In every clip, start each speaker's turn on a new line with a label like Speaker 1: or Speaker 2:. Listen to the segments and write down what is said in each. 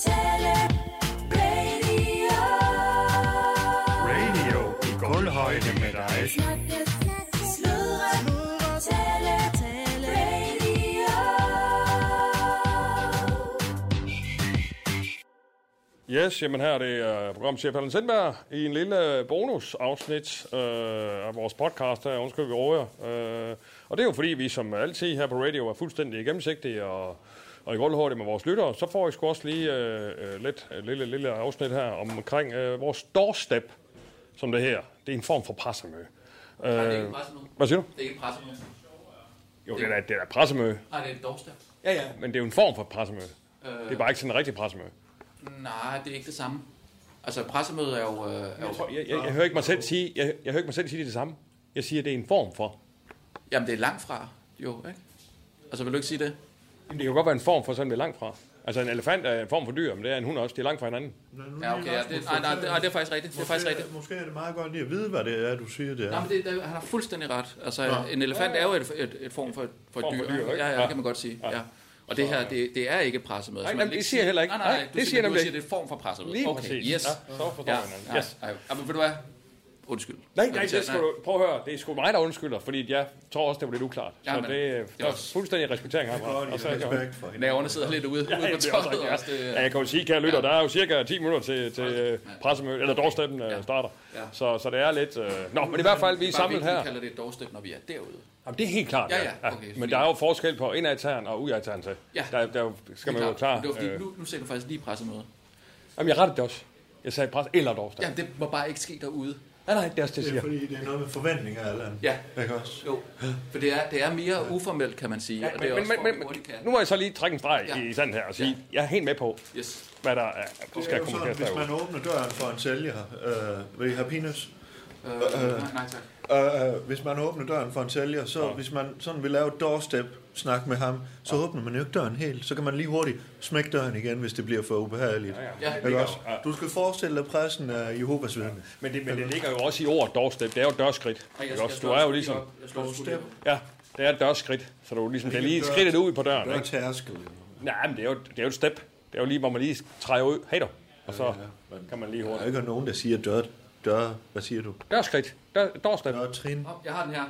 Speaker 1: tale, radio.
Speaker 2: Radio i gulvhøjde med dig.
Speaker 1: Snakke, sludre, tale, tale, radio.
Speaker 3: Yes, jamen her er det uh, programchef Allan Sindberg i en lille bonusafsnit øh, af vores podcast her, Undskyld, vi råder. Øh, og det er jo fordi, vi som altid her på radio er fuldstændig gennemsigtige og, og i guldhårde med vores lyttere. Så får I sgu også lige øh, øh, lidt, et lille, lille afsnit her omkring øh, vores doorstep, som det her. Det er en form for pressemøde.
Speaker 4: Nej, det er
Speaker 3: Øh,
Speaker 4: ikke presse nu.
Speaker 3: hvad siger du?
Speaker 4: Det er ikke presse nu.
Speaker 3: Jo, det er da- det er da pressemøde,
Speaker 4: Nej, det er en doorstep.
Speaker 3: ja, ja. men det er jo en form for pressemøde. Det er bare ikke sådan en rigtig pressemøde.
Speaker 4: Øh, Nej, det er ikke det samme. Altså, pressemødet er jo... Øh, er
Speaker 3: Jeg,
Speaker 4: jo
Speaker 3: tror, jeg, jeg, jeg, hører ikke mig selv sige, jeg, jeg hører ikke mig selv sige det samme. Jeg siger, det er en form for.
Speaker 4: jamen, det er langt fra, jo, ikke? Altså, vil du ikke sige det?
Speaker 3: Jamen, det kan godt være en form for sådan, det er langt fra. Altså en elefant er en form for dyr, men det er en hund også. De er langt fra hinanden.
Speaker 4: Ja, okay. Ja, det, nej, nej, det, nej, det er faktisk rigtigt. Det er faktisk rigtigt.
Speaker 5: Måske, måske er det meget godt lige at vide, hvad det er, du siger, det er.
Speaker 4: Nej, men det, det, han har fuldstændig ret. Altså, en elefant er jo et, et, et form for, for,
Speaker 3: Form for
Speaker 4: dyr.
Speaker 3: dyr, ikke?
Speaker 4: ja, ja,
Speaker 3: Ja.
Speaker 4: det kan man godt sige. Ja. Og det her, det, det er ikke et pressemøde.
Speaker 3: Nej,
Speaker 4: Så man
Speaker 3: jamen,
Speaker 4: vil ikke
Speaker 3: det siger jeg heller ikke.
Speaker 4: sige- Nej, nej,
Speaker 3: Nej,
Speaker 4: nej,
Speaker 3: det
Speaker 4: du
Speaker 3: siger jeg
Speaker 4: siger, du
Speaker 3: nemlig
Speaker 4: siger,
Speaker 3: ikke.
Speaker 4: det er et form for pressemøde.
Speaker 3: Lige
Speaker 4: okay,
Speaker 3: præcis.
Speaker 4: yes.
Speaker 3: Ja, så forstår jeg hinanden.
Speaker 4: ja,
Speaker 3: Yes.
Speaker 4: ja, ja. Men ved du hvad? Undskyld.
Speaker 3: Nej, nej, det skal du, prøv at høre. Det er sgu mig, der undskylder, fordi jeg tror også, det var lidt uklart. Så
Speaker 4: Jamen,
Speaker 3: det, øh,
Speaker 4: det
Speaker 3: der
Speaker 4: er
Speaker 3: er
Speaker 4: også-
Speaker 3: fuldstændig respektering herfra. Og så er det jo-
Speaker 5: respekt for hende.
Speaker 4: Næverne sidder lidt ude, ude
Speaker 3: Ja,
Speaker 4: på
Speaker 3: det er også rigtigt,
Speaker 4: tøjet.
Speaker 3: ja.
Speaker 4: også, det-
Speaker 3: Ja, jeg kan jo sige, kære lytter, der er jo cirka 10 minutter til, til øh, pressemødet, eller dårsteppen øh, starter.
Speaker 4: Ja.
Speaker 3: Så, så det er lidt... Øh... Nå, men i hvert fald, vi er
Speaker 4: Bare
Speaker 3: samlet
Speaker 4: vigtigt, vi
Speaker 3: her.
Speaker 4: kalder det et doorstep, når vi er derude.
Speaker 3: Jamen, det er helt klart.
Speaker 4: Ja, ja, okay,
Speaker 3: Men
Speaker 4: fordi-
Speaker 3: der er jo forskel på indadtageren og udadtageren til.
Speaker 4: Ja.
Speaker 3: Der, der skal man
Speaker 4: Det er
Speaker 3: jo
Speaker 4: klart.
Speaker 3: klare.
Speaker 4: Det var fordi,
Speaker 3: øh,
Speaker 4: nu, nu ser du faktisk lige pressemøde.
Speaker 3: Jamen, jeg rettede det også. Jeg sagde pres eller dårstep.
Speaker 4: Jamen, det må bare ikke ske derude.
Speaker 3: Nej, nej, det er også det, jeg
Speaker 5: Det er
Speaker 3: siger.
Speaker 5: fordi, det er noget med forventninger, Allan.
Speaker 4: Ja.
Speaker 5: Ikke også?
Speaker 4: Jo, for det er, det er mere uformelt, kan man sige. og det er
Speaker 3: Men,
Speaker 4: også,
Speaker 3: men,
Speaker 4: hvor vi
Speaker 3: men,
Speaker 4: hurtigt
Speaker 3: men
Speaker 4: kan.
Speaker 3: nu må jeg så lige trække en streg
Speaker 4: Ja.
Speaker 3: ja. i sanden her og sige, ja. jeg er helt med på,
Speaker 4: Yes.
Speaker 3: hvad der er, du
Speaker 5: Det er
Speaker 3: skal
Speaker 5: jo sådan,
Speaker 3: kommunikeres
Speaker 5: hvis man
Speaker 3: derude.
Speaker 5: åbner døren for en sælger, øh, vil I have peanuts?
Speaker 4: Øh, nej, nej, tak.
Speaker 5: Øh, øh, hvis man åbner døren for en sælger, så hvis man sådan vil lave et doorstep, snak med ham, så åbner man jo ikke døren helt. Så kan man lige hurtigt smække døren igen, hvis det bliver for ubehageligt.
Speaker 4: Ja.
Speaker 5: Ikke også? Du skal forestille dig pressen af Jehovas vidne.
Speaker 3: Men det, men det ligger jo også i ordet dårstep. Det er jo et dørskridt.
Speaker 4: Ej,
Speaker 3: ikke
Speaker 4: jeg
Speaker 3: også?
Speaker 4: skal-
Speaker 3: Du er jo
Speaker 4: jeg
Speaker 3: ligesom...
Speaker 4: skal lige op. Jeg slår sgu lige op.
Speaker 3: Ja, det er et dørskridt. Så du ligesom, det er
Speaker 5: ikke
Speaker 3: lige
Speaker 5: en dør-
Speaker 3: skridtet ud på døren.
Speaker 5: Der er
Speaker 3: Ikke?
Speaker 5: tærskelen.
Speaker 3: Nej, men det er, jo, det er jo et step. Det er jo lige, hvor man lige træder ud. Hey du. Og så kan man lige
Speaker 5: Der er
Speaker 3: hurtigt.
Speaker 5: ikke nogen, der siger dør, dør, hvad siger du?
Speaker 3: Dørskridt. Dør, dørstep.
Speaker 5: Dør trin.
Speaker 4: Hop, Jeg har den her.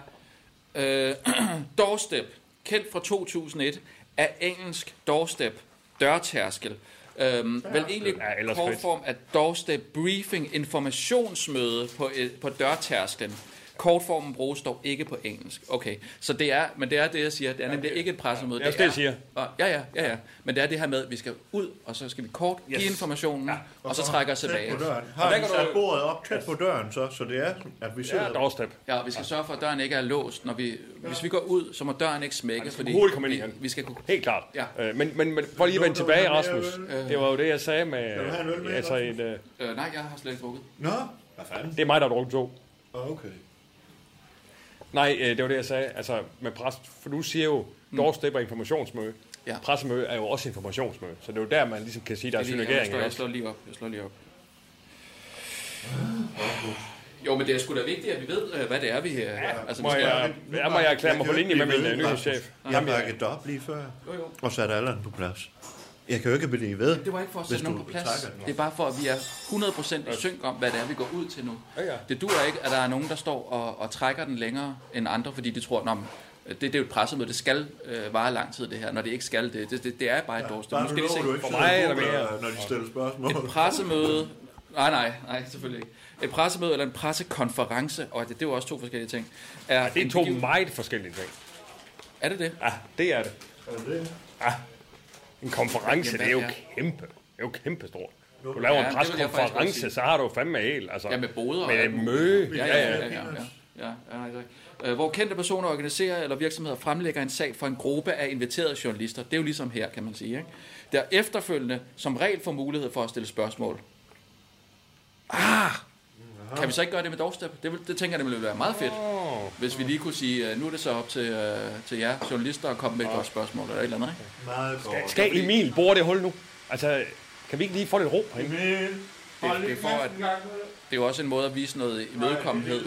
Speaker 4: Øh, doorstep, kendt fra 2001, er engelsk doorstep, dørtærskel. Øhm, vel egentlig
Speaker 3: Ja, ellers
Speaker 4: kort
Speaker 3: fedt.
Speaker 4: form af doorstep briefing, informationsmøde på, øh, på dørtærsklen. Kortformen bruges dog ikke på engelsk. Okay, så det er, men det er det, jeg siger. Det er nemlig ikke et pressemøde.
Speaker 3: det er også det, jeg
Speaker 4: Nå, Ja, ja, ja, ja. Men det er det her med, at vi skal ud, og så skal vi kort give informationen, og så trækker os tilbage.
Speaker 5: Tæt på døren. Har
Speaker 3: der
Speaker 5: vi
Speaker 3: kan
Speaker 5: sat
Speaker 3: du-
Speaker 5: bordet op tæt på døren så, så det er, at vi
Speaker 3: Ja,
Speaker 5: sidder...
Speaker 3: dørstep.
Speaker 4: Ja, og vi skal sørge for, at døren ikke er låst. Når vi, hvis vi går ud, så må døren ikke smække,
Speaker 3: skal
Speaker 4: fordi
Speaker 3: hurtigt komme ind igen.
Speaker 4: vi, vi skal kunne...
Speaker 3: Helt klart.
Speaker 4: Ja.
Speaker 3: Øh, men, men, men for lige at vende
Speaker 5: Nå, der var
Speaker 3: tilbage,
Speaker 5: han mere
Speaker 3: Rasmus. Det var jo det, jeg sagde med...
Speaker 5: du have en øl mere,
Speaker 3: Altså, et, øh,
Speaker 4: Øh, nej, jeg har slet ikke drukket.
Speaker 5: Nå, hvad fanden?
Speaker 3: det er mig, der har drukket to.
Speaker 5: Åh, Okay.
Speaker 3: Nej, øh, det var det, jeg sagde. Altså, med pres, for du siger jo, doorstep er informationsmøde.
Speaker 4: Mm. Ja.
Speaker 3: Pressemøde er jo også informationsmøde. Så det er jo der, man ligesom kan sige, der er
Speaker 4: Jeg, lige, jeg,
Speaker 3: synergering.
Speaker 4: slår,
Speaker 3: ikke
Speaker 4: jeg
Speaker 3: også?
Speaker 4: slår lige op. Jeg slår lige op. Jo, men det er sgu da vigtigt, at vi ved, øh, hvad det er, vi her. Ja, altså, vi
Speaker 3: Må
Speaker 4: skal,
Speaker 3: jeg, ja, må jeg erklære mig på linje med min øh, nyhedschef?
Speaker 5: Jeg mærkede op lige før,
Speaker 4: jo.
Speaker 5: og satte Allan på plads. Jeg kan jo ikke blive ved.
Speaker 4: Det var ikke for at
Speaker 5: hvis
Speaker 4: sætte nogen
Speaker 5: du
Speaker 4: på plads.
Speaker 5: takker den.
Speaker 4: Det er bare for, at vi er 100% i synk om, hvad det er, vi går ud til nu.
Speaker 3: Ja, ja.
Speaker 4: Det duer ikke, at der er nogen, der står og, og trækker den længere end andre, fordi de tror, at det, det er jo et pressemøde, det skal øh, vare lang tid det her. Når det ikke skal det, det, det, det er bare et dårstød.
Speaker 5: Bare
Speaker 4: Nu
Speaker 5: du
Speaker 4: skal
Speaker 5: lover,
Speaker 4: de
Speaker 5: du
Speaker 4: se,
Speaker 5: ikke
Speaker 3: for mig
Speaker 5: sidder
Speaker 3: eller
Speaker 5: på
Speaker 3: mere.
Speaker 5: bordet, når de stiller spørgsmål.
Speaker 4: et pressemøde... Nej, nej, nej, selvfølgelig ikke. Et pressemøde eller en pressekonference, og det, det er jo også to forskellige ting. Er,
Speaker 3: Det er
Speaker 4: en
Speaker 3: to
Speaker 4: begiven-
Speaker 3: meget forskellige ting.
Speaker 4: Er det det?
Speaker 3: Ja, det er det.
Speaker 5: Er det?
Speaker 3: En konference, det
Speaker 4: Jamen,
Speaker 3: er jo
Speaker 4: ja.
Speaker 3: kæmpe. Det er jo kæmpe stort. Du laver
Speaker 4: Ja,
Speaker 3: en
Speaker 4: det vil jeg faktisk også
Speaker 3: preskonference,
Speaker 4: sige.
Speaker 3: så har du fandme el. Altså,
Speaker 4: Ja, med boder
Speaker 3: Med
Speaker 4: og
Speaker 3: et
Speaker 4: alt muligt.
Speaker 3: møde.
Speaker 4: Ja, ja, ja. ja, ja, ja, ja, nej, tak. Øh, Hvor kendte personer organiserer eller virksomheder fremlægger en sag for en gruppe af inviterede journalister. Det er jo ligesom her, kan man sige. Ikke? Der efterfølgende som regel får mulighed for at stille spørgsmål. Ah! Kan vi så ikke gøre det med doorstep? Det, vil, det tænker jeg, det ville være meget fedt, hvis vi lige kunne sige, øh, nu er det så op til, øh, til jer journalister at komme med et godt spørgsmål eller et eller andet. Ikke?
Speaker 5: Meget godt.
Speaker 3: Skal Emil bore det hul nu? Altså, kan vi ikke lige få lidt ro herinde?
Speaker 5: Emil,
Speaker 4: Det, det er for, at, Det er jo også en måde at vise noget imødekommenhed.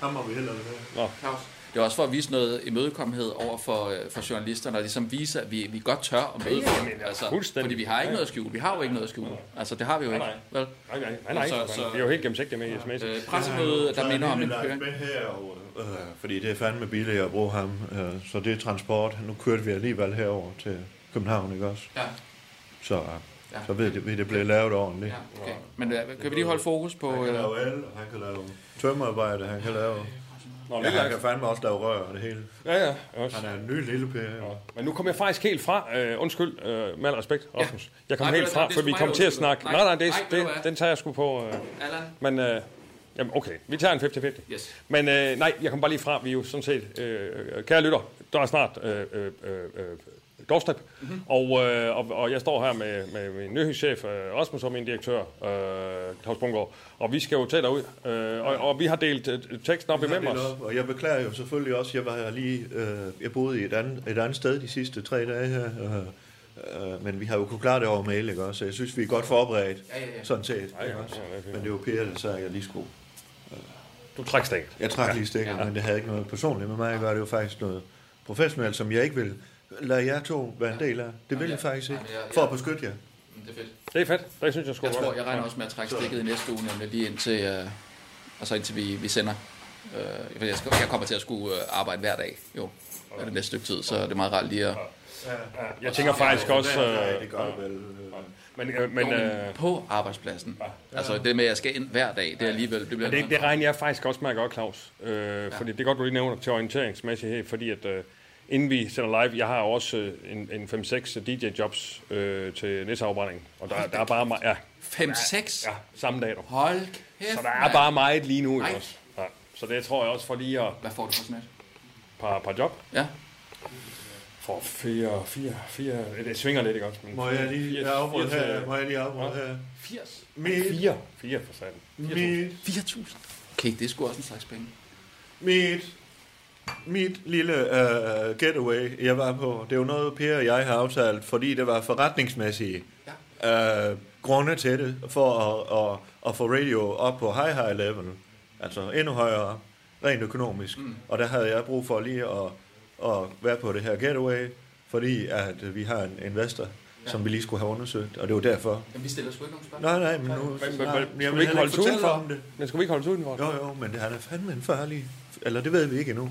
Speaker 5: Ham må vi heller ikke have.
Speaker 4: Claus. Det er også for at vise noget imødekommenhed over for, øh, for journalisterne, og ligesom vise, at vi, vi godt tør at møde folk. Altså,
Speaker 3: fuldstændig.
Speaker 4: fordi vi har ikke noget at skjule. Vi har jo ikke noget at skjule. Altså, det har vi jo ikke.
Speaker 3: nej.
Speaker 4: Vel?
Speaker 3: Nej, nej, nej, nej.
Speaker 4: Så- så-
Speaker 3: det er jo helt gennemsigtigt med sms'en.
Speaker 4: Øh, pressemødet, der minder om en
Speaker 5: køring.
Speaker 4: høring.
Speaker 5: Med her, og, øh, fordi det er fandme billigere at bruge ham, øh, så det er transport. Nu kørte vi alligevel herover til København, ikke også?
Speaker 4: Ja,
Speaker 5: Så, øh,
Speaker 4: Ja.
Speaker 5: så ved det, ved det blev lavet ordentligt.
Speaker 4: ja, okay. Men øh, kan vi lige holde fokus på...
Speaker 5: Han kan
Speaker 4: Øh,
Speaker 5: lave el, han kan lave tømmerarbejde, han kan lave...
Speaker 3: Nå,
Speaker 5: Ja,
Speaker 3: lige
Speaker 5: han kan
Speaker 3: langt.
Speaker 5: fandme også lave rør og det hele.
Speaker 3: ja, ja. Også.
Speaker 5: Han er en ny lille pære. jo.
Speaker 3: Men nu kom jeg faktisk helt fra, øh, undskyld, øh, med al respekt, Rasmus. Jeg kom
Speaker 4: Nej,
Speaker 3: helt
Speaker 4: men
Speaker 3: fra,
Speaker 4: det er
Speaker 3: for
Speaker 4: sgu
Speaker 3: vi
Speaker 4: mig,
Speaker 3: kom
Speaker 4: der
Speaker 3: til at
Speaker 4: undskylder.
Speaker 3: snakke.
Speaker 4: Nej,
Speaker 3: Nej, nej, det,
Speaker 4: nej, ved
Speaker 3: det,
Speaker 4: du hvad?
Speaker 3: den tager jeg sgu på. Øh.
Speaker 4: Allan?
Speaker 3: Men øh, jamen, okay, vi tager en 50-50.
Speaker 4: Yes.
Speaker 3: Men øh, nej, jeg kom bare lige fra, vi er jo sådan set, øh, kære lytter, der er snart øh, øh, øh, doorstep,
Speaker 4: Mhm.
Speaker 3: mm-hmm. og, øh, og, og jeg står her med, med min nyhedschef øh, Rasmus og min direktør, øh, Claus Bungård, og vi skal jo tage derud, øh, og, og vi har delt øh, teksten op imellem os.
Speaker 5: Helt op, Og jeg beklager jo selvfølgelig også, jeg var her lige, øh, jeg boede i et andet, et andet sted de sidste tre dage her, øh, øh, men vi har jo kunnet klare det over mail, ikke også? Så jeg synes, vi er godt forberedt,
Speaker 4: Ja, ja, ja.
Speaker 5: sådan set.
Speaker 3: ja,
Speaker 5: ikke også?
Speaker 3: ja, det er fint.
Speaker 5: Men det var Per, der sagde, at jeg lige skulle.
Speaker 3: Du trækker stænget.
Speaker 5: Jeg trak lige stikker,
Speaker 4: Ja.
Speaker 5: men det havde ikke noget personligt med mig at gøre, det var faktisk noget professionelt, som jeg ikke vil lade jer to være en del af. Det vil jeg
Speaker 4: ja.
Speaker 5: faktisk ikke,
Speaker 4: Jamen, jeg-
Speaker 5: for
Speaker 4: jeg-
Speaker 5: at beskytte jer.
Speaker 4: Det er fedt.
Speaker 3: Det er fedt, det synes jeg sgu
Speaker 4: Jeg tror,
Speaker 3: godt.
Speaker 4: jeg regner også med at trække stikket i næste uge, nemlig lige indtil, øh, altså indtil vi, vi sender. Øh, for jeg, skal, jeg kommer til at skulle øh, arbejde hver dag, jo, af det næste stykke tid, så det er meget rart lige at
Speaker 3: Jeg tænker faktisk også...
Speaker 5: Nej,
Speaker 3: Øh,
Speaker 5: det gør det vel.
Speaker 3: men øh, men øh,
Speaker 4: på arbejdspladsen. Altså det med, at jeg skal ind hver dag, det er alligevel, det bliver
Speaker 3: Det, det regner jeg faktisk også med at gøre, Claus. Øh, ja. Fordi det er godt, du lige nævner til orienteringsmæssighed, fordi at øh, inden vi sender live, jeg har også øh, en, en 5-6 DJ-jobs øh, til næseafbrænding. Og der, der er bare meget... Ja,
Speaker 4: 5-6?
Speaker 3: ja, samme dag dog.
Speaker 4: Hold kæft,
Speaker 3: Så der er
Speaker 4: mand.
Speaker 3: bare meget lige nu,
Speaker 4: Nej.
Speaker 3: ikke også? Ja. Så det tror jeg også for lige at
Speaker 4: Hvad får du for sådan et?
Speaker 3: par, par job.
Speaker 4: Ja,
Speaker 3: For fire, fire, fire... Det, det svinger lidt, ikke også? Men
Speaker 5: Må jeg lige
Speaker 3: fire-
Speaker 5: jeg afbryder
Speaker 3: fire til-
Speaker 5: her? Må jeg lige afbryde her?
Speaker 4: 80.
Speaker 5: Mit,
Speaker 3: Fire. Fire for satan.
Speaker 5: mit,
Speaker 4: 4.000. Okay, det er sgu også en slags penge.
Speaker 5: Mit, mit lille uh, getaway, jeg var på, det er jo noget, Per og jeg har aftalt, fordi det var forretningsmæssige uh, grunde til det, for at, at, at få radio op på high, high level. Altså endnu højere, op, rent økonomisk. Mm. Og der havde jeg brug for lige at, at være på det her getaway, fordi at vi har en investor, ja. som vi lige skulle have undersøgt, og det var derfor.
Speaker 4: Jamen, vi stiller sgu ikke nogen spørgsmål.
Speaker 5: Nej, nej, men nu...
Speaker 3: Men, men,
Speaker 5: nej,
Speaker 3: men,
Speaker 5: jeg
Speaker 3: skal
Speaker 5: vil
Speaker 3: vi ikke
Speaker 5: heller
Speaker 3: holde os
Speaker 5: fortælle om
Speaker 3: udenfor?
Speaker 5: det.
Speaker 3: Men skal vi ikke holde os udenfor?
Speaker 5: Jo, jo, men han er fandme en farlig... Eller det ved vi ikke endnu.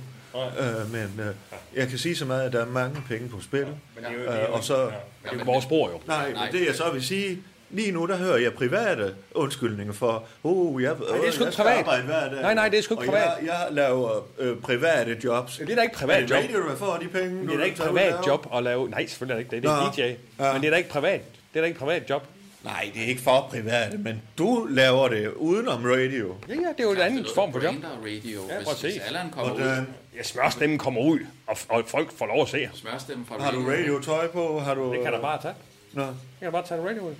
Speaker 5: Øh, men øh, jeg kan sige så meget, at der er mange penge på spil.
Speaker 3: Men det er jo- det er
Speaker 5: Øh,
Speaker 3: jo-
Speaker 5: og så...
Speaker 3: Det er jo vores bror, jo.
Speaker 5: Nej,
Speaker 4: Nej.
Speaker 5: men det jeg så vil sige... Lige nu, der hører jeg private undskyldninger for, oh, jeg, nej,
Speaker 3: det er sgu
Speaker 5: jeg
Speaker 3: ikke
Speaker 5: skal
Speaker 3: privat.
Speaker 5: arbejde hver dag.
Speaker 3: Nej, nej, det er sgu ikke
Speaker 5: og
Speaker 3: privat.
Speaker 5: Jeg, jeg laver øh, private jobs.
Speaker 3: Det er da ikke privat job.
Speaker 5: Radio, der får de penge. du
Speaker 3: Men det er da ikke
Speaker 5: tager ud og
Speaker 3: privat
Speaker 5: laver.
Speaker 3: job at lave... Nej, selvfølgelig er det ikke det. Det er
Speaker 5: Nå.
Speaker 3: DJ. Men det er da ikke privat. Det er da ikke privat job.
Speaker 5: Nej, det er ikke for private, men du laver det udenom radio.
Speaker 3: Ja, ja, det er jo en anden
Speaker 4: altså,
Speaker 3: form for job.
Speaker 4: Brander radio,
Speaker 3: Ja,
Speaker 4: ja, hvis,
Speaker 3: præcis.
Speaker 4: hvis Allan kommer
Speaker 5: Hvordan,
Speaker 4: ud.
Speaker 3: Ja, smørstemmen kommer ud, og, og folk får lov at se os.
Speaker 4: Smørstemmen fra
Speaker 5: har du radio tøj på? Har du,
Speaker 3: Det kan der bare tage.
Speaker 5: Nå.
Speaker 3: Jeg kan bare tage en radio.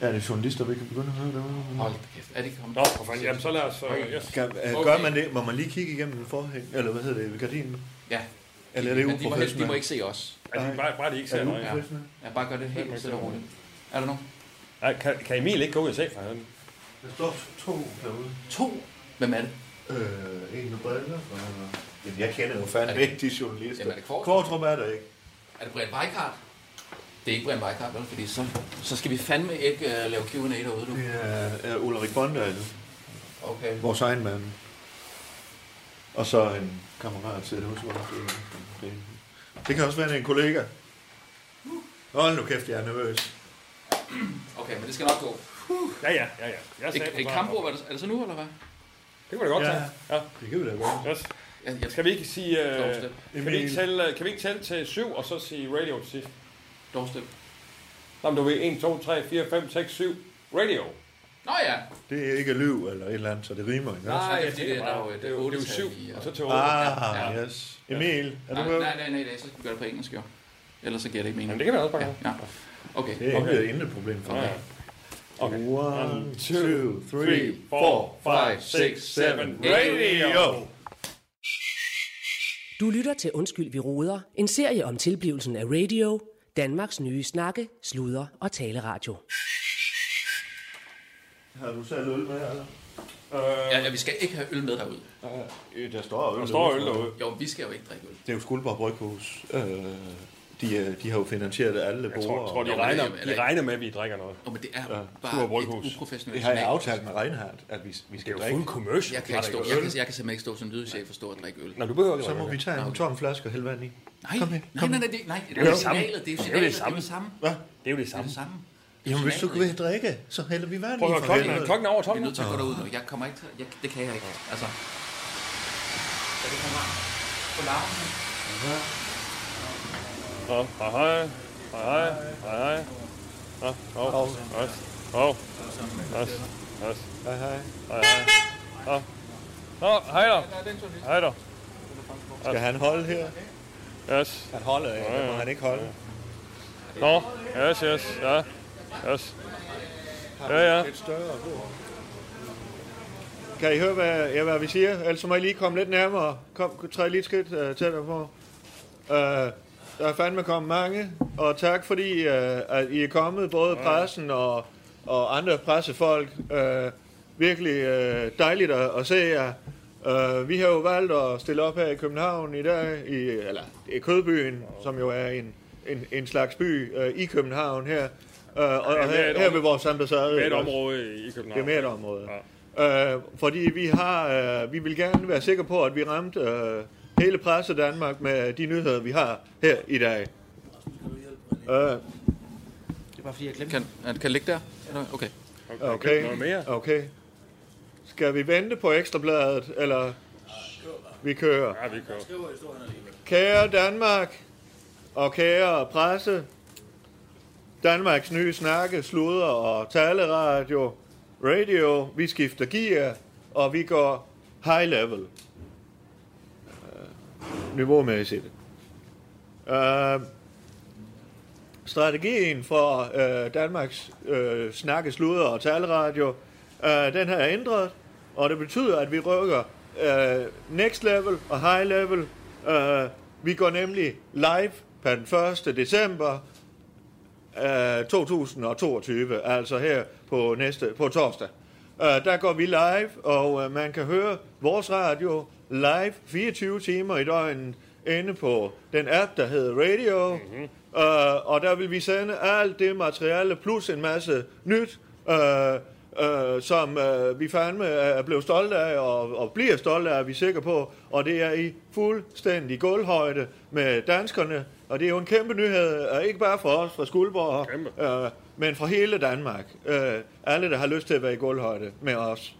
Speaker 5: Ja, det er journalister, vi kan begynde at høre det.
Speaker 4: Hold kæft, er det ikke kommet?
Speaker 3: Nå, for fanden. Jamen, så lad os... Uh, yes.
Speaker 5: Kan, øh,
Speaker 4: Okay.
Speaker 5: okay. Gør man det? Må man lige kigge igennem den forhæng? Eller hvad hedder det? Gardinen?
Speaker 4: Ja.
Speaker 5: Eller er det
Speaker 4: Men de må, helst, de må
Speaker 5: uprofessionelt?
Speaker 4: ikke se os.
Speaker 3: Altså, bare, bare de ikke ser
Speaker 5: Er det
Speaker 3: noget.
Speaker 5: uprofessionelt?
Speaker 4: Ja, bare gør det helt stille og roligt. Er der nogen?
Speaker 3: Nej, kan, kan Emil ikke gå ud og se for ham?
Speaker 5: Der står to derude.
Speaker 4: To. Hvem er det?
Speaker 5: Øh, en med briller. og- Jamen, jeg kender jo fandme ikke de journalister.
Speaker 4: Jamen, er det Kvartrup?
Speaker 5: Kvartrup er der ikke.
Speaker 4: Er det Brian Weikart? Det er ikke Brian Weikart, vel? Fordi så, så skal vi fandme ikke uh, lave Q&A derude nu.
Speaker 5: Det er, er Ulrik Bondal,
Speaker 4: Okay.
Speaker 5: vores egen mand. Og så en kammerat sidder hos mig. Det, det kan også være det er en kollega. Hold nu kæft, jeg er nervøs.
Speaker 4: Okay, men det skal nok gå.
Speaker 3: Ja, ja, ja, ja. Jeg sagde
Speaker 4: Et, et
Speaker 3: bare-
Speaker 4: kampbord, er det, er det så nu, eller hvad?
Speaker 3: Det kunne vi da godt
Speaker 5: Ja.
Speaker 3: tage. Ja.
Speaker 5: Det kan vi da godt.
Speaker 3: Yes.
Speaker 4: Jeg, jeg skal
Speaker 3: Skal vi ikke sige... Uh,
Speaker 4: Doorstep.
Speaker 3: kan, vi ikke tælle, øh, kan vi ikke tælle til syv, og så sige radio til sidst?
Speaker 4: doorstep.
Speaker 3: Nå, men du ved, 1, 2, 3, 4, 5, 6, 7. Radio.
Speaker 4: Nå ja,
Speaker 5: Det er ikke løv eller et eller andet, så det rimer ikke. også?
Speaker 4: det er
Speaker 3: jeg
Speaker 4: fordi,
Speaker 3: tænker
Speaker 4: der er
Speaker 3: bare,
Speaker 4: jo et
Speaker 3: det er jo det er jo
Speaker 4: otte-tal
Speaker 3: syv,
Speaker 4: i,
Speaker 3: og
Speaker 4: og-
Speaker 3: så til 8.
Speaker 5: Ah,
Speaker 4: Ja.
Speaker 5: yes. Emil, er du
Speaker 4: nej,
Speaker 5: med?
Speaker 4: nej, nej, nej, nej, så skal vi gøre det på engelsk, jo. Ellers så giver det ikke
Speaker 3: Jamen,
Speaker 4: mening.
Speaker 3: det kan vi også bare
Speaker 4: Ja,
Speaker 3: gøre.
Speaker 4: ja. Okay.
Speaker 5: Det er okay. et intet problem for mig.
Speaker 3: Okay.
Speaker 5: One, two, three,
Speaker 3: four,
Speaker 4: five, six,
Speaker 5: seven,
Speaker 3: Radio!
Speaker 6: Du lytter til Undskyld, vi roder. En serie om tilblivelsen af radio. Danmarks nye snakke, sludre og taleradio.
Speaker 5: Har du selv øl med, eller?
Speaker 4: Ja, ja, vi skal ikke have øl med derude.
Speaker 5: Øh, der står øl.
Speaker 3: Der står øl derude.
Speaker 4: Jo, vi skal jo ikke drikke øl.
Speaker 5: Det er jo Skuldborg Bryghus. Øh, de, øh, de har jo finansieret alle
Speaker 3: Jeg
Speaker 5: borde.
Speaker 3: tror, tror de,
Speaker 4: Jo, men
Speaker 3: regner,
Speaker 4: det er-
Speaker 3: de regner med, at vi drikker noget.
Speaker 4: Nå, men det er ja,
Speaker 3: Stor
Speaker 4: bare
Speaker 3: Bryghus.
Speaker 4: et uprofessionelt
Speaker 5: det har jeg
Speaker 4: signal.
Speaker 5: aftalt med Reinhardt, at vi, vi
Speaker 3: Det
Speaker 5: skal
Speaker 3: er jo fuld
Speaker 5: drikke.
Speaker 3: commercial.
Speaker 4: Jeg kan, ikke stå, jeg, kan, jeg kan simpelthen ikke stå som lydchef og stå og drikke øl.
Speaker 3: Nå, du behøver ikke
Speaker 5: Så
Speaker 3: drikke
Speaker 5: må
Speaker 3: noget.
Speaker 5: vi tage en tom flaske og hælde vand i.
Speaker 4: Nej,
Speaker 5: Kom her,
Speaker 4: nej,
Speaker 5: kom
Speaker 4: nej,
Speaker 5: her.
Speaker 4: nej, det, nej, det er jo
Speaker 3: samme.
Speaker 4: signalet, det er jo
Speaker 3: Det er jo det
Speaker 4: signalet, det er jo det samme.
Speaker 5: Hvad?
Speaker 3: Det er jo det
Speaker 4: Det er
Speaker 3: samme.
Speaker 4: det samme.
Speaker 5: Jamen, hvis du
Speaker 4: Signalet.
Speaker 5: kan ved at drikke, så hælder vi vand
Speaker 3: Prøv
Speaker 5: i.
Speaker 3: at høre,
Speaker 5: for
Speaker 3: klokken, er-
Speaker 5: helvede.
Speaker 3: klokken er over 12
Speaker 4: Vi er
Speaker 3: nu.
Speaker 4: nødt til at gå derud nu. Jeg kommer ikke til, jeg, det kan jeg ikke. Altså. Er det for meget? For larmen?
Speaker 3: Nå, Hej, hej. Hej, hej. Hej, hej. Nå, hov. Hej. Hov. Yes. Yes.
Speaker 5: Hej, hej.
Speaker 3: Hej, hej. Nå. Nå, hej der. Hej der.
Speaker 5: Skal han holde her?
Speaker 3: Yes.
Speaker 5: Han holder ikke. Det må han ikke holde.
Speaker 3: Nå, yes, yes. Ja. Yes. Ja, ja.
Speaker 5: Et større bord. Kan I høre, hvad, ja, hvad vi siger? Ellers må I lige komme lidt nærmere. Kom, træd lige et skridt uh, tættere på. Uh, der er fandme kommet mange, og tak fordi uh, at I er kommet, både pressen og, og andre pressefolk. Uh, virkelig uh, dejligt at, at se jer. Uh, vi har jo valgt at stille op her i København i dag, i, eller i Kødbyen, som jo er en, en, en slags by uh, i København her. Uh, og, og
Speaker 3: det er
Speaker 5: her,
Speaker 3: et
Speaker 5: her
Speaker 3: om-
Speaker 5: ved vores ambassade.
Speaker 3: Det er et
Speaker 5: ikke også?
Speaker 3: område i København.
Speaker 5: Det er mere et område. Ja. Øh, fordi vi har, øh, vi vil gerne være sikre på, at vi ramte øh, hele presse Danmark med de nyheder, vi har her i dag. Øh,
Speaker 7: Det var fordi, jeg glemte.
Speaker 4: Kan, er det- kan det ligge der? Eller- Okay.
Speaker 5: okay.
Speaker 3: Noget mere?
Speaker 5: okay. Skal vi vente på ekstrabladet, eller vi kører?
Speaker 3: Ja, vi kører.
Speaker 5: Kære Danmark og kære presse, Danmarks nye snakke, sluder og taleradio, radio, vi skifter gear, og vi går high level. Uh, niveaumæssigt. Uh, strategien for øh, Danmarks øh, snakke, sluder og taleradio, øh, den her er ændret, og det betyder, at vi rykker øh, next level og high level. Øh, vi går nemlig live per den 1. december øh, 2022, altså her på, næste, på torsdag. Øh, der går vi live, og øh, man kan høre vores radio live 24 timer i døgnet inde på den app, der hedder Radio. Mm-hmm. Øh, og der vil vi sende alt det materiale, plus en masse nyt, øh, øh, som øh, vi fandme er blevet stolte af, og, og bliver stolte af, er vi sikre på. Og det er i fuldstændig gulvhøjde med danskerne. Og det er jo en kæmpe nyhed, og ikke bare for os fra Skuldborg, øh, men fra hele Danmark. Øh, alle, der har lyst til at være i gulvhøjde med os.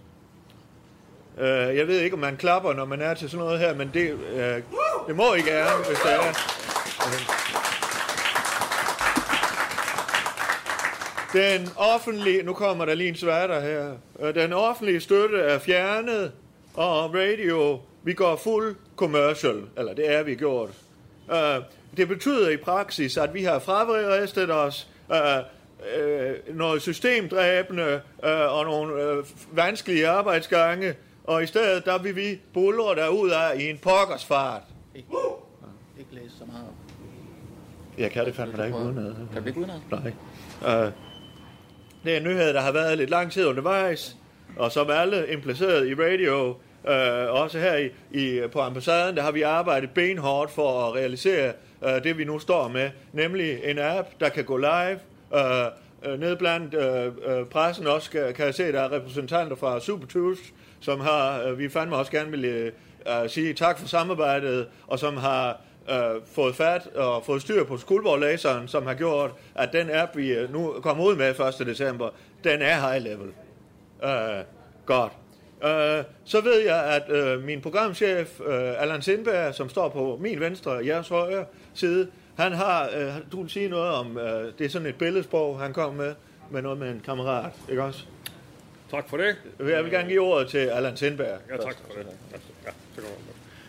Speaker 5: Øh, jeg ved ikke, om man klapper, når man er til sådan noget her, men det, øh, det må I gerne, hvis det er. Den offentlige, nu kommer der lige en sværter her. Øh, Den offentlige støtte er fjernet, og radio, vi går fuld commercial, eller det er vi gjort. Øh, Det betyder i praksis, at vi har fraværestet os øh, øh, noget systemdræbende øh, og nogle øh, vanskelige arbejdsgange, og i stedet der vil vi bullere derud af i en pokkers fart.
Speaker 7: Ikke læse så meget op.
Speaker 5: Jeg kan det fandme da ikke uden ad.
Speaker 4: Kan vi ikke udenad?
Speaker 5: Nej. Øh, det er en nyhed, der har været lidt lang tid undervejs, og som alle impliceret i radio, øh, også her i, i, på ambassaden, der har vi arbejdet benhårdt for at realisere øh, det, vi nu står med, nemlig en app, der kan gå live. Øh, øh, ned blandt øh, øh, pressen også kan, kan jeg se, der er repræsentanter fra Super Tuesday, som har, øh, vi fandme også gerne vil øh, øh, sige tak for samarbejdet, og som har øh, fået fat og fået styr på skuldborg som har gjort, at den app, vi øh, nu kommer ud med 1. december, den er high level. Øh, godt. Øh, så ved jeg, at øh, min programchef, øh, Allan Sindberg, som står på min venstre og jeres højre side, han har, øh, du vil sige noget om, øh, det er sådan et billedsprog, han kom med, med noget med en kammerat, ikke også?
Speaker 3: Tak for det.
Speaker 5: Jeg vil gerne give ordet til Allan Sindberg.
Speaker 3: Ja, tak for det. Ja, så kommer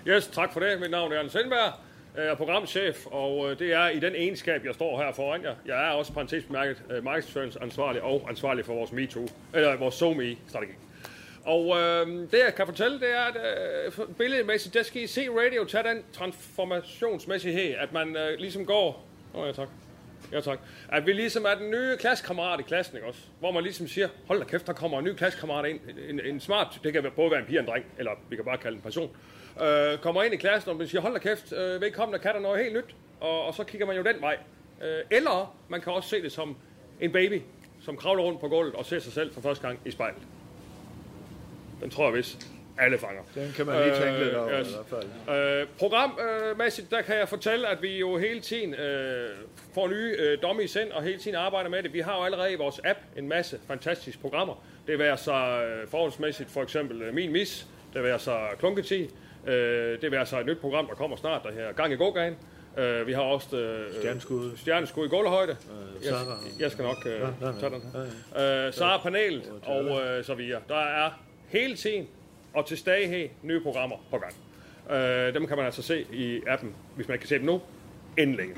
Speaker 3: man. Yes, tak for det. Mit navn er Jørgen Sindberg. Jeg er programchef, og øh, det er i den egenskab, jeg står her foran jer. Jeg er også parentes bemærket øh, markedsføringsansvarlig og ansvarlig for vores MeToo, eller vores SoMe-strategi. Og øh, det, jeg kan fortælle, det er, at øh, billedmæssigt, der skal I se radio tage den transformationsmæssige her, at man øh, ligesom går... Nå ja, tak. Ja, tak. At vi ligesom er den nye klassekammerat i klassen, ikke også? Hvor man ligesom siger, hold da kæft, der kommer en ny klassekammerat ind. En, en smart, det kan være- både være en pige og en dreng, eller vi kan bare kalde en person. Øh, kommer ind i klassen, og man siger, hold da kæft, øh, velkommen, der kan der noget helt nyt. Og, og så kigger man jo den vej. Øh, eller man kan også se det som en baby, som kravler rundt på gulvet og ser sig selv for første gang i spejlet. Den tror jeg vist, alle fanger.
Speaker 5: Den kan man lige tænke lidt over
Speaker 3: yes.
Speaker 5: i hvert fald.
Speaker 3: Øh, programmæssigt, der kan jeg fortælle, at vi jo hele tiden øh, får nye øh, dummies ind, og hele tiden arbejder med det. Vi har jo allerede i vores app en masse fantastiske programmer. Det vil så øh, forholdsmæssigt for eksempel øh, Min Mis, det vil så Klunketi, øh, det vil så et nyt program, der kommer snart, der her Gang i Gågagen. Øh, vi har også øh,
Speaker 5: Stjerneskud.
Speaker 3: stjerneskud i gulvhøjde. jeg,
Speaker 5: Sarah.
Speaker 3: jeg skal nok øh, tage den her. Øh, Sara Panelet og øh, så videre. Der er hele tiden og til stadighed nye programmer på gang. Øh, dem kan man altså se i appen, hvis man ikke kan se dem nu, inden længe.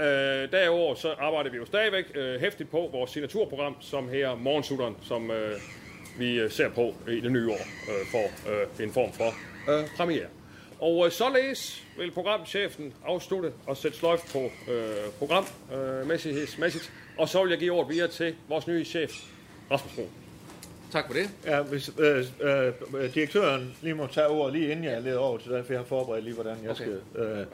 Speaker 3: Øh, derudover så arbejder vi jo stadigvæk øh, hæftigt på vores signaturprogram, som her Morgensutteren, som øh, vi øh, ser på i det nye år, øh, får øh, en form for øh, premiere. Og øh, således vil programchefen afslutte og sætte sløjf på øh, programmæssigt, og så vil jeg give ordet videre til vores nye chef, Rasmus Brun.
Speaker 4: Tak for det.
Speaker 5: Ja, hvis øh, øh, øh, direktøren lige må tage ordet lige inden jeg leder over til dig, for jeg har forberedt lige, hvordan jeg
Speaker 4: Okay.
Speaker 5: skal... Øh, øh,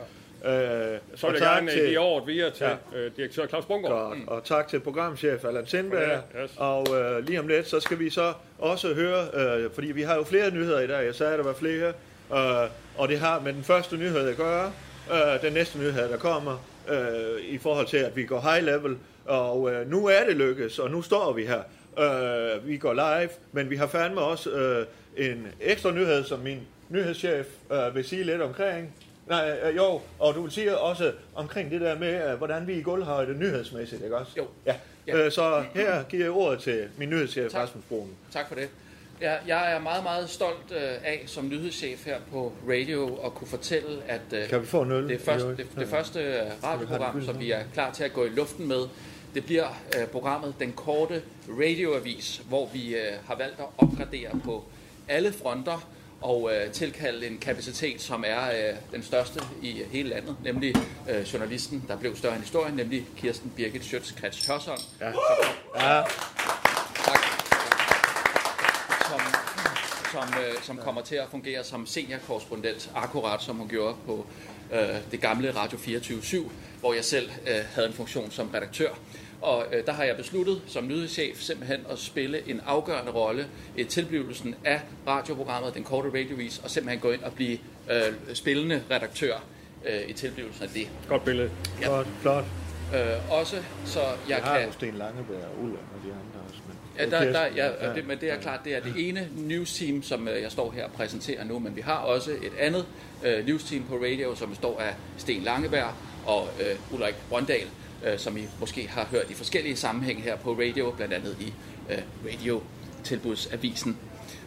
Speaker 3: Så vil
Speaker 5: og tak
Speaker 3: jeg gerne øh, give ordet videre til
Speaker 5: Ja.
Speaker 3: øh, direktør Claus Bungård.
Speaker 5: Godt, og tak til programchef Allan Sindberg.
Speaker 3: Ja, yes.
Speaker 5: Og øh, lige om lidt, så skal vi så også høre, øh, fordi vi har jo flere nyheder i dag, jeg sagde, at der var flere, øh, og det har med den første nyhed at gøre, øh, den næste nyhed, der kommer, øh, i forhold til, at vi går high level, og øh, nu er det lykkedes, og nu står vi her. Øh, vi går live, men vi har fandme også øh, en ekstra nyhed, som min nyhedschef øh, vil sige lidt omkring. Nej, øh, jo, og du siger også omkring det der med, øh, hvordan vi i gulvhøjde nyhedsmæssigt, ikke også?
Speaker 4: Jo.
Speaker 5: Ja.
Speaker 4: Ja.
Speaker 5: Øh, så her giver jeg ordet til min nyhedschef,
Speaker 4: Tak.
Speaker 5: Rasmus Broen.
Speaker 4: Tak for det. Jeg, jeg er meget, meget stolt øh, af som nyhedschef her på radio at kunne fortælle, at øh,
Speaker 5: Kan vi få en øl?
Speaker 4: det, første, det, det første øh, radioprogram,
Speaker 5: fyldt
Speaker 4: som
Speaker 5: nu?
Speaker 4: vi er klar til at gå i luften med, det bliver øh, programmet Den Korte Radioavis, hvor vi øh, har valgt at opgradere på alle fronter og øh, tilkalde en kapacitet, som er øh, den største i hele landet, nemlig øh, journalisten, der blev større end historien, nemlig Kirsten Birgit Schøtz-Krets Hørsholm. Ja. Tak. Som, som, øh, som kommer til at fungere som seniorkorrespondent, akkurat som hun gjorde på øh, det gamle Radio 24-7, hvor jeg selv øh, havde en funktion som redaktør. Og øh, der har jeg besluttet som nyhedschef simpelthen at spille en afgørende rolle i tilblivelsen af radioprogrammet Den Korte Radiovis, og simpelthen gå ind og blive øh, spillende redaktør øh, i tilblivelsen af det.
Speaker 3: Godt billede.
Speaker 4: Ja.
Speaker 5: Flot, flot.
Speaker 4: Øh, også så jeg,
Speaker 5: Jeg har
Speaker 4: kan...
Speaker 5: jo Sten Langeberg og Ulla og de andre også. Men...
Speaker 4: Ja, der, der, ja,
Speaker 5: Ja.
Speaker 4: og det, men det er klart, det er det ene news-team, som øh, jeg står her og præsenterer nu, men vi har også et andet øh, news-team på radio, som består af Sten Langeberg og øh, Ulrik Brøndal, øh, som I måske har hørt i forskellige sammenhæng her på radio, blandt andet i øh, Radio-tilbudsavisen,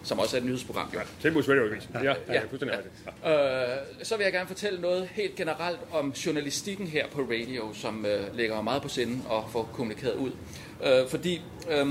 Speaker 4: som også er et nyhedsprogram. Jo.
Speaker 3: Tilbudsvælgerudvisen. Ja, ja,
Speaker 4: ja.
Speaker 3: ja, fuldstændig rigtigt. Ja.
Speaker 4: Øh, så vil jeg gerne fortælle noget helt generelt om journalistikken her på radio, som øh, ligger mig meget på sinde at få kommunikeret ud. Øh, fordi øh,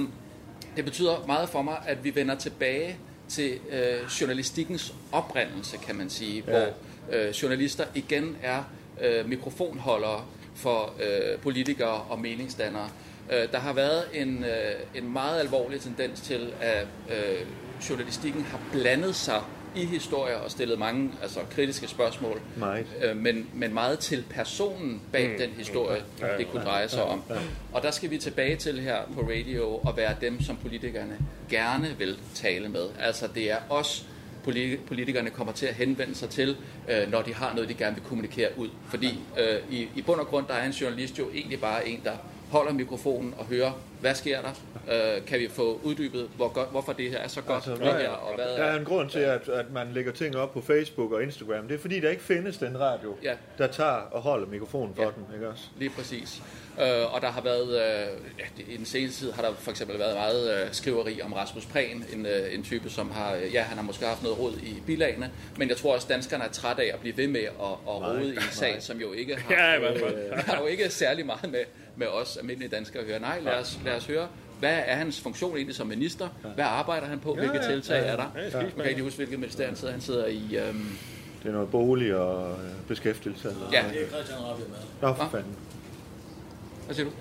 Speaker 4: det betyder meget for mig, at vi vender tilbage til øh, journalistikkens oprindelse, kan man sige, ja. hvor øh, journalister igen er øh, mikrofonholdere for øh, politikere og meningsdannere. Øh, der har været en, øh, en meget alvorlig tendens til, at øh, journalistikken har blandet sig i historier og stillet mange altså, kritiske spørgsmål,
Speaker 5: Meget.
Speaker 4: øh, men, men meget til personen bag mm. den historie, det kunne dreje sig om. Og der skal vi tilbage til her på radio og være dem, som politikerne gerne vil tale med. Altså det er os, politi- politikerne kommer til at henvende sig til, øh, når de har noget, de gerne vil kommunikere ud. Fordi øh, i, i bund og grund, der er en journalist jo egentlig bare en, der holder mikrofonen og hører, hvad sker der? Øh, kan vi få uddybet, hvor godt, hvorfor det her er så godt?
Speaker 5: Altså,
Speaker 4: det
Speaker 5: hvad
Speaker 4: her,
Speaker 5: er-
Speaker 4: og hvad
Speaker 5: Der er en grund til, at, at man lægger ting op på Facebook og Instagram. Det er fordi, der ikke findes den radio,
Speaker 4: Ja.
Speaker 5: der tager og holder mikrofonen for
Speaker 4: Ja.
Speaker 5: dem, ikke også?
Speaker 4: Lige præcis. Øh, og der har været, øh, ja, det- i den seneste tid har der for eksempel været meget øh, skriveri om Rasmus Prehn, en, øh, en type, som har, øh, ja, han har måske haft noget rod i bilagene, men jeg tror også, danskerne er trætte af at blive ved med at, at rode i en sag, som jo ikke har,
Speaker 3: Ja, i hvert fald.
Speaker 4: har jo ikke særlig meget med, med os almindelige danskere at høre. Nej, lad os, lad os høre, hvad er hans funktion egentlig som minister? Hvad arbejder han på? Hvilke
Speaker 5: ja,
Speaker 4: tiltag er
Speaker 3: Ja,
Speaker 4: der?
Speaker 3: det er
Speaker 4: Jeg
Speaker 3: skidt,
Speaker 4: kan ikke lige huske, hvilket minister han sidder. Han sidder i... Øhm,
Speaker 5: Det er noget bolig og øh, beskæftigelse. Eller
Speaker 4: ja,
Speaker 5: Nå, for fanden.
Speaker 4: Hvad siger du?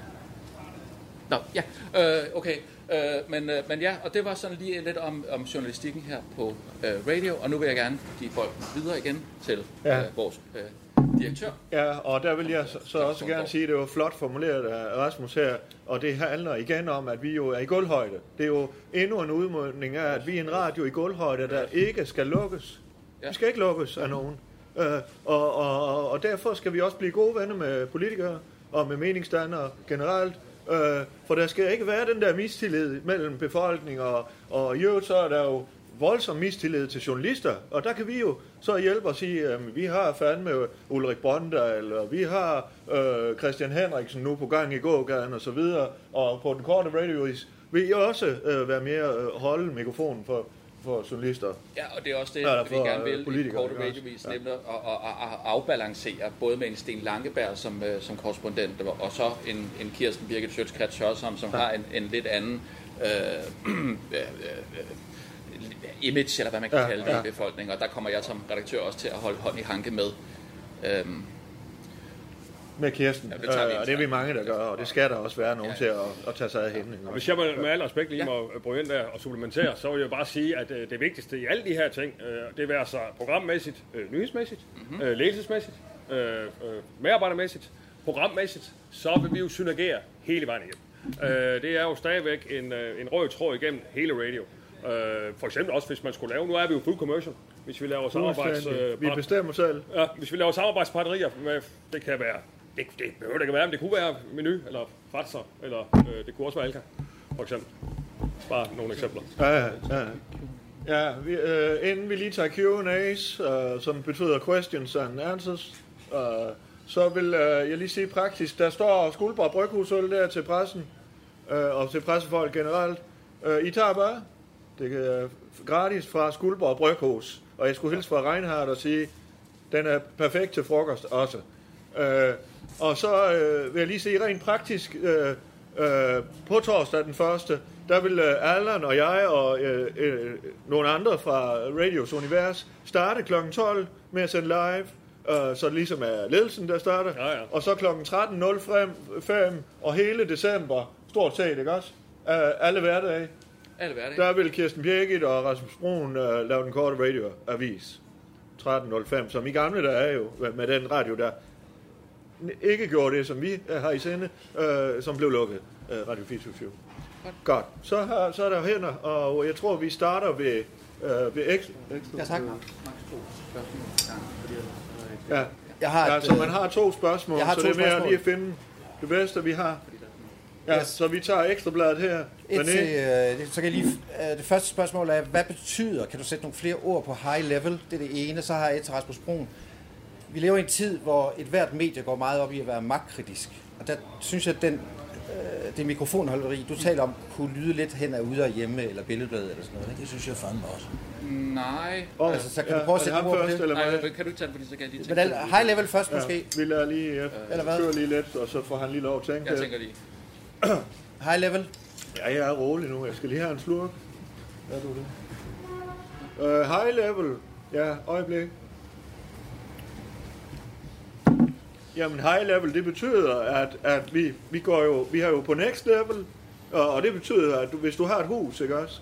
Speaker 4: Nå, ja, øh, okay. Øh, men, øh, men ja, og det var sådan lige lidt om, om journalistikken her på øh, radio, og nu vil jeg gerne give folk videre igen til
Speaker 5: Ja.
Speaker 4: øh, vores øh, direktør.
Speaker 5: Ja, og der vil jeg så, så også gerne sige, at det var flot formuleret af Rasmus her, og det handler igen om, at vi jo er i gulvhøjde. Det er jo endnu en udmundning af, at vi er en radio i gulvhøjde, der ikke skal lukkes. Vi skal ikke lukkes af nogen. Øh, og, og, og- og derfor skal vi også blive gode venner med politikere og med meningsdannere generelt. Øh, for der skal ikke være den der mistillid mellem befolkning og, og i øvrigt så er der jo voldsom mistillid til journalister, og der kan vi jo så hjælpe og sige, at vi har fandme øh, Ulrik Bonda, eller vi har øh, Christian Henriksen nu på gang i gågaden og så videre, og på den korte radiovis vil I også øh, være mere øh, holde mikrofonen for, for journalister.
Speaker 4: Ja, og det er også det,
Speaker 5: Ja, der
Speaker 4: ja, vi
Speaker 5: får,
Speaker 4: gerne
Speaker 5: øh,
Speaker 4: vil i den
Speaker 5: politikere,
Speaker 4: korte
Speaker 5: ikke også?
Speaker 4: radiovis, ja. nemlig at, at, at, at afbalancere både med en Sten Langeberg som, øh, som korrespondent, og og så en, en Kirsten Birgit Sjøtskrets Hørsholm, som ja. har en, en lidt anden øh, øh, øh, image, eller hvad man kan ja,
Speaker 5: Ja,
Speaker 4: kalde det ja. i
Speaker 5: ja.
Speaker 4: befolkningen, og der kommer jeg som redaktør også til at holde hånd i hanke med. Øhm,
Speaker 5: Med Kirsten.
Speaker 4: Ja,
Speaker 5: Ja,
Speaker 4: det tager vi
Speaker 5: øh, og det er vi mange, der gør, og det skal der også være nogen til at, at tage sig af hende. ikke?
Speaker 3: Hvis jeg med, med al respekt lige må ja. bryde ind der og supplementere, så vil jeg bare sige, at øh, det vigtigste i alle de her ting, øh, det være sig programmæssigt, øh, nyhedsmæssigt,
Speaker 5: Mhm.
Speaker 3: mm-hmm. øh, ledelsesmæssigt, øh, øh, medarbejdermæssigt, programmæssigt, så vil vi jo synergere hele vejen hjem. Øh, det er jo stadigvæk en, øh, en rød tråd igennem hele radio. Øh, for eksempel også, hvis man skulle lave, nu er vi jo food commercial, hvis vi laver samarbejds... øh,
Speaker 5: Fuldstændig. Vi
Speaker 3: part-
Speaker 5: bestemmer selv.
Speaker 3: Ja, hvis vi laver samarbejdspartnerier, med, det kan være, det, det behøver det ikke at være, men det kunne være menu, eller fratser, eller øh, det kunne også være alka, for eksempel. Bare nogle eksempler.
Speaker 5: Ja, ja, ja. ja vi, øh, inden vi lige tager Q&A's, øh, som betyder questions and answers, øh, så vil øh, jeg lige sige praktisk, der står Skuldborg Bryghusøl der til pressen, øh, og til pressefolk generelt. Øh, I tager bare, det er øh, gratis fra Skuldborg Bryghus, og jeg skulle hilse fra Reinhardt og sige, den er perfekt til frokost også. Øh, og så øh, vil jeg lige sige rent praktisk, øh, øh, på torsdag den første, der vil øh, Allan og jeg og øh, øh, nogle andre fra Radios Univers starte kl. 12 med at sende live. Øh, så ligesom er ledelsen, der starter.
Speaker 3: Ja, ja.
Speaker 5: Og så kl. 13.05 og hele december, stort set, ikke også? Øh, alle hverdage.
Speaker 4: alt hvad er det?
Speaker 5: Der vil Kirsten Birgit og Rasmus Brun øh, lave den korte radioavis. 13.05, som i gamle der er jo øh, med- med den radio, der n- ikke gjorde det, som vi øh, har i sende, øh, som blev lukket. Øh, radio 24 Godt. Så, har, så er der hænder, og jeg tror, vi starter ved, øh, ved X.
Speaker 7: Ja, tak.
Speaker 8: Øh,
Speaker 5: Ja.
Speaker 9: Jeg har et,
Speaker 5: ja, så
Speaker 9: øh,
Speaker 5: man har to spørgsmål,
Speaker 9: jeg har
Speaker 5: så
Speaker 9: to
Speaker 5: det er med at
Speaker 9: spørgsmål.
Speaker 5: lige at finde det bedste, vi har. Ja,
Speaker 9: Yes.
Speaker 5: så vi tager ekstrabladet her.
Speaker 9: Et til,
Speaker 5: René,
Speaker 9: øh, det- så kan jeg lige, øh, det første spørgsmål er, hvad betyder, kan du sætte nogle flere ord på high level? Det er det ene, så har jeg et til Rasmus Brun. Vi lever i en tid, hvor et hvert medie går meget op i at være magtkritisk. Og der synes jeg, at den, øh, det mikrofonholderi, du taler om, kunne lyde lidt hen af ude og hjemme, eller billedbladet eller sådan noget. Ikke?
Speaker 8: Det synes jeg fandme også.
Speaker 4: Nej.
Speaker 5: og,
Speaker 9: altså, så kan du
Speaker 5: er
Speaker 9: prøve at
Speaker 5: det
Speaker 9: sætte
Speaker 5: ham
Speaker 9: ord på
Speaker 5: først,
Speaker 9: det?
Speaker 5: eller mig?
Speaker 4: Nej, kan du ikke tage den, fordi så kan jeg lige
Speaker 9: Men al,
Speaker 4: tænke.
Speaker 9: high level først måske.
Speaker 5: Ja, vi lader lige, ja,
Speaker 9: Eller
Speaker 5: Eller
Speaker 9: hvad?
Speaker 5: hvad? Øh, kører lige lidt, og så får han lige lov at tænke.
Speaker 4: Jeg tænker lige.
Speaker 9: High level.
Speaker 5: Ja, jeg er rolig nu. Jeg skal lige have en slurk. Er du det? Uh, high level. Ja, øjeblik. Jamen, high level, det betyder, at, at vi, vi, går jo, vi har jo på next level, og, og det betyder, at du, hvis du har et hus, ikke også,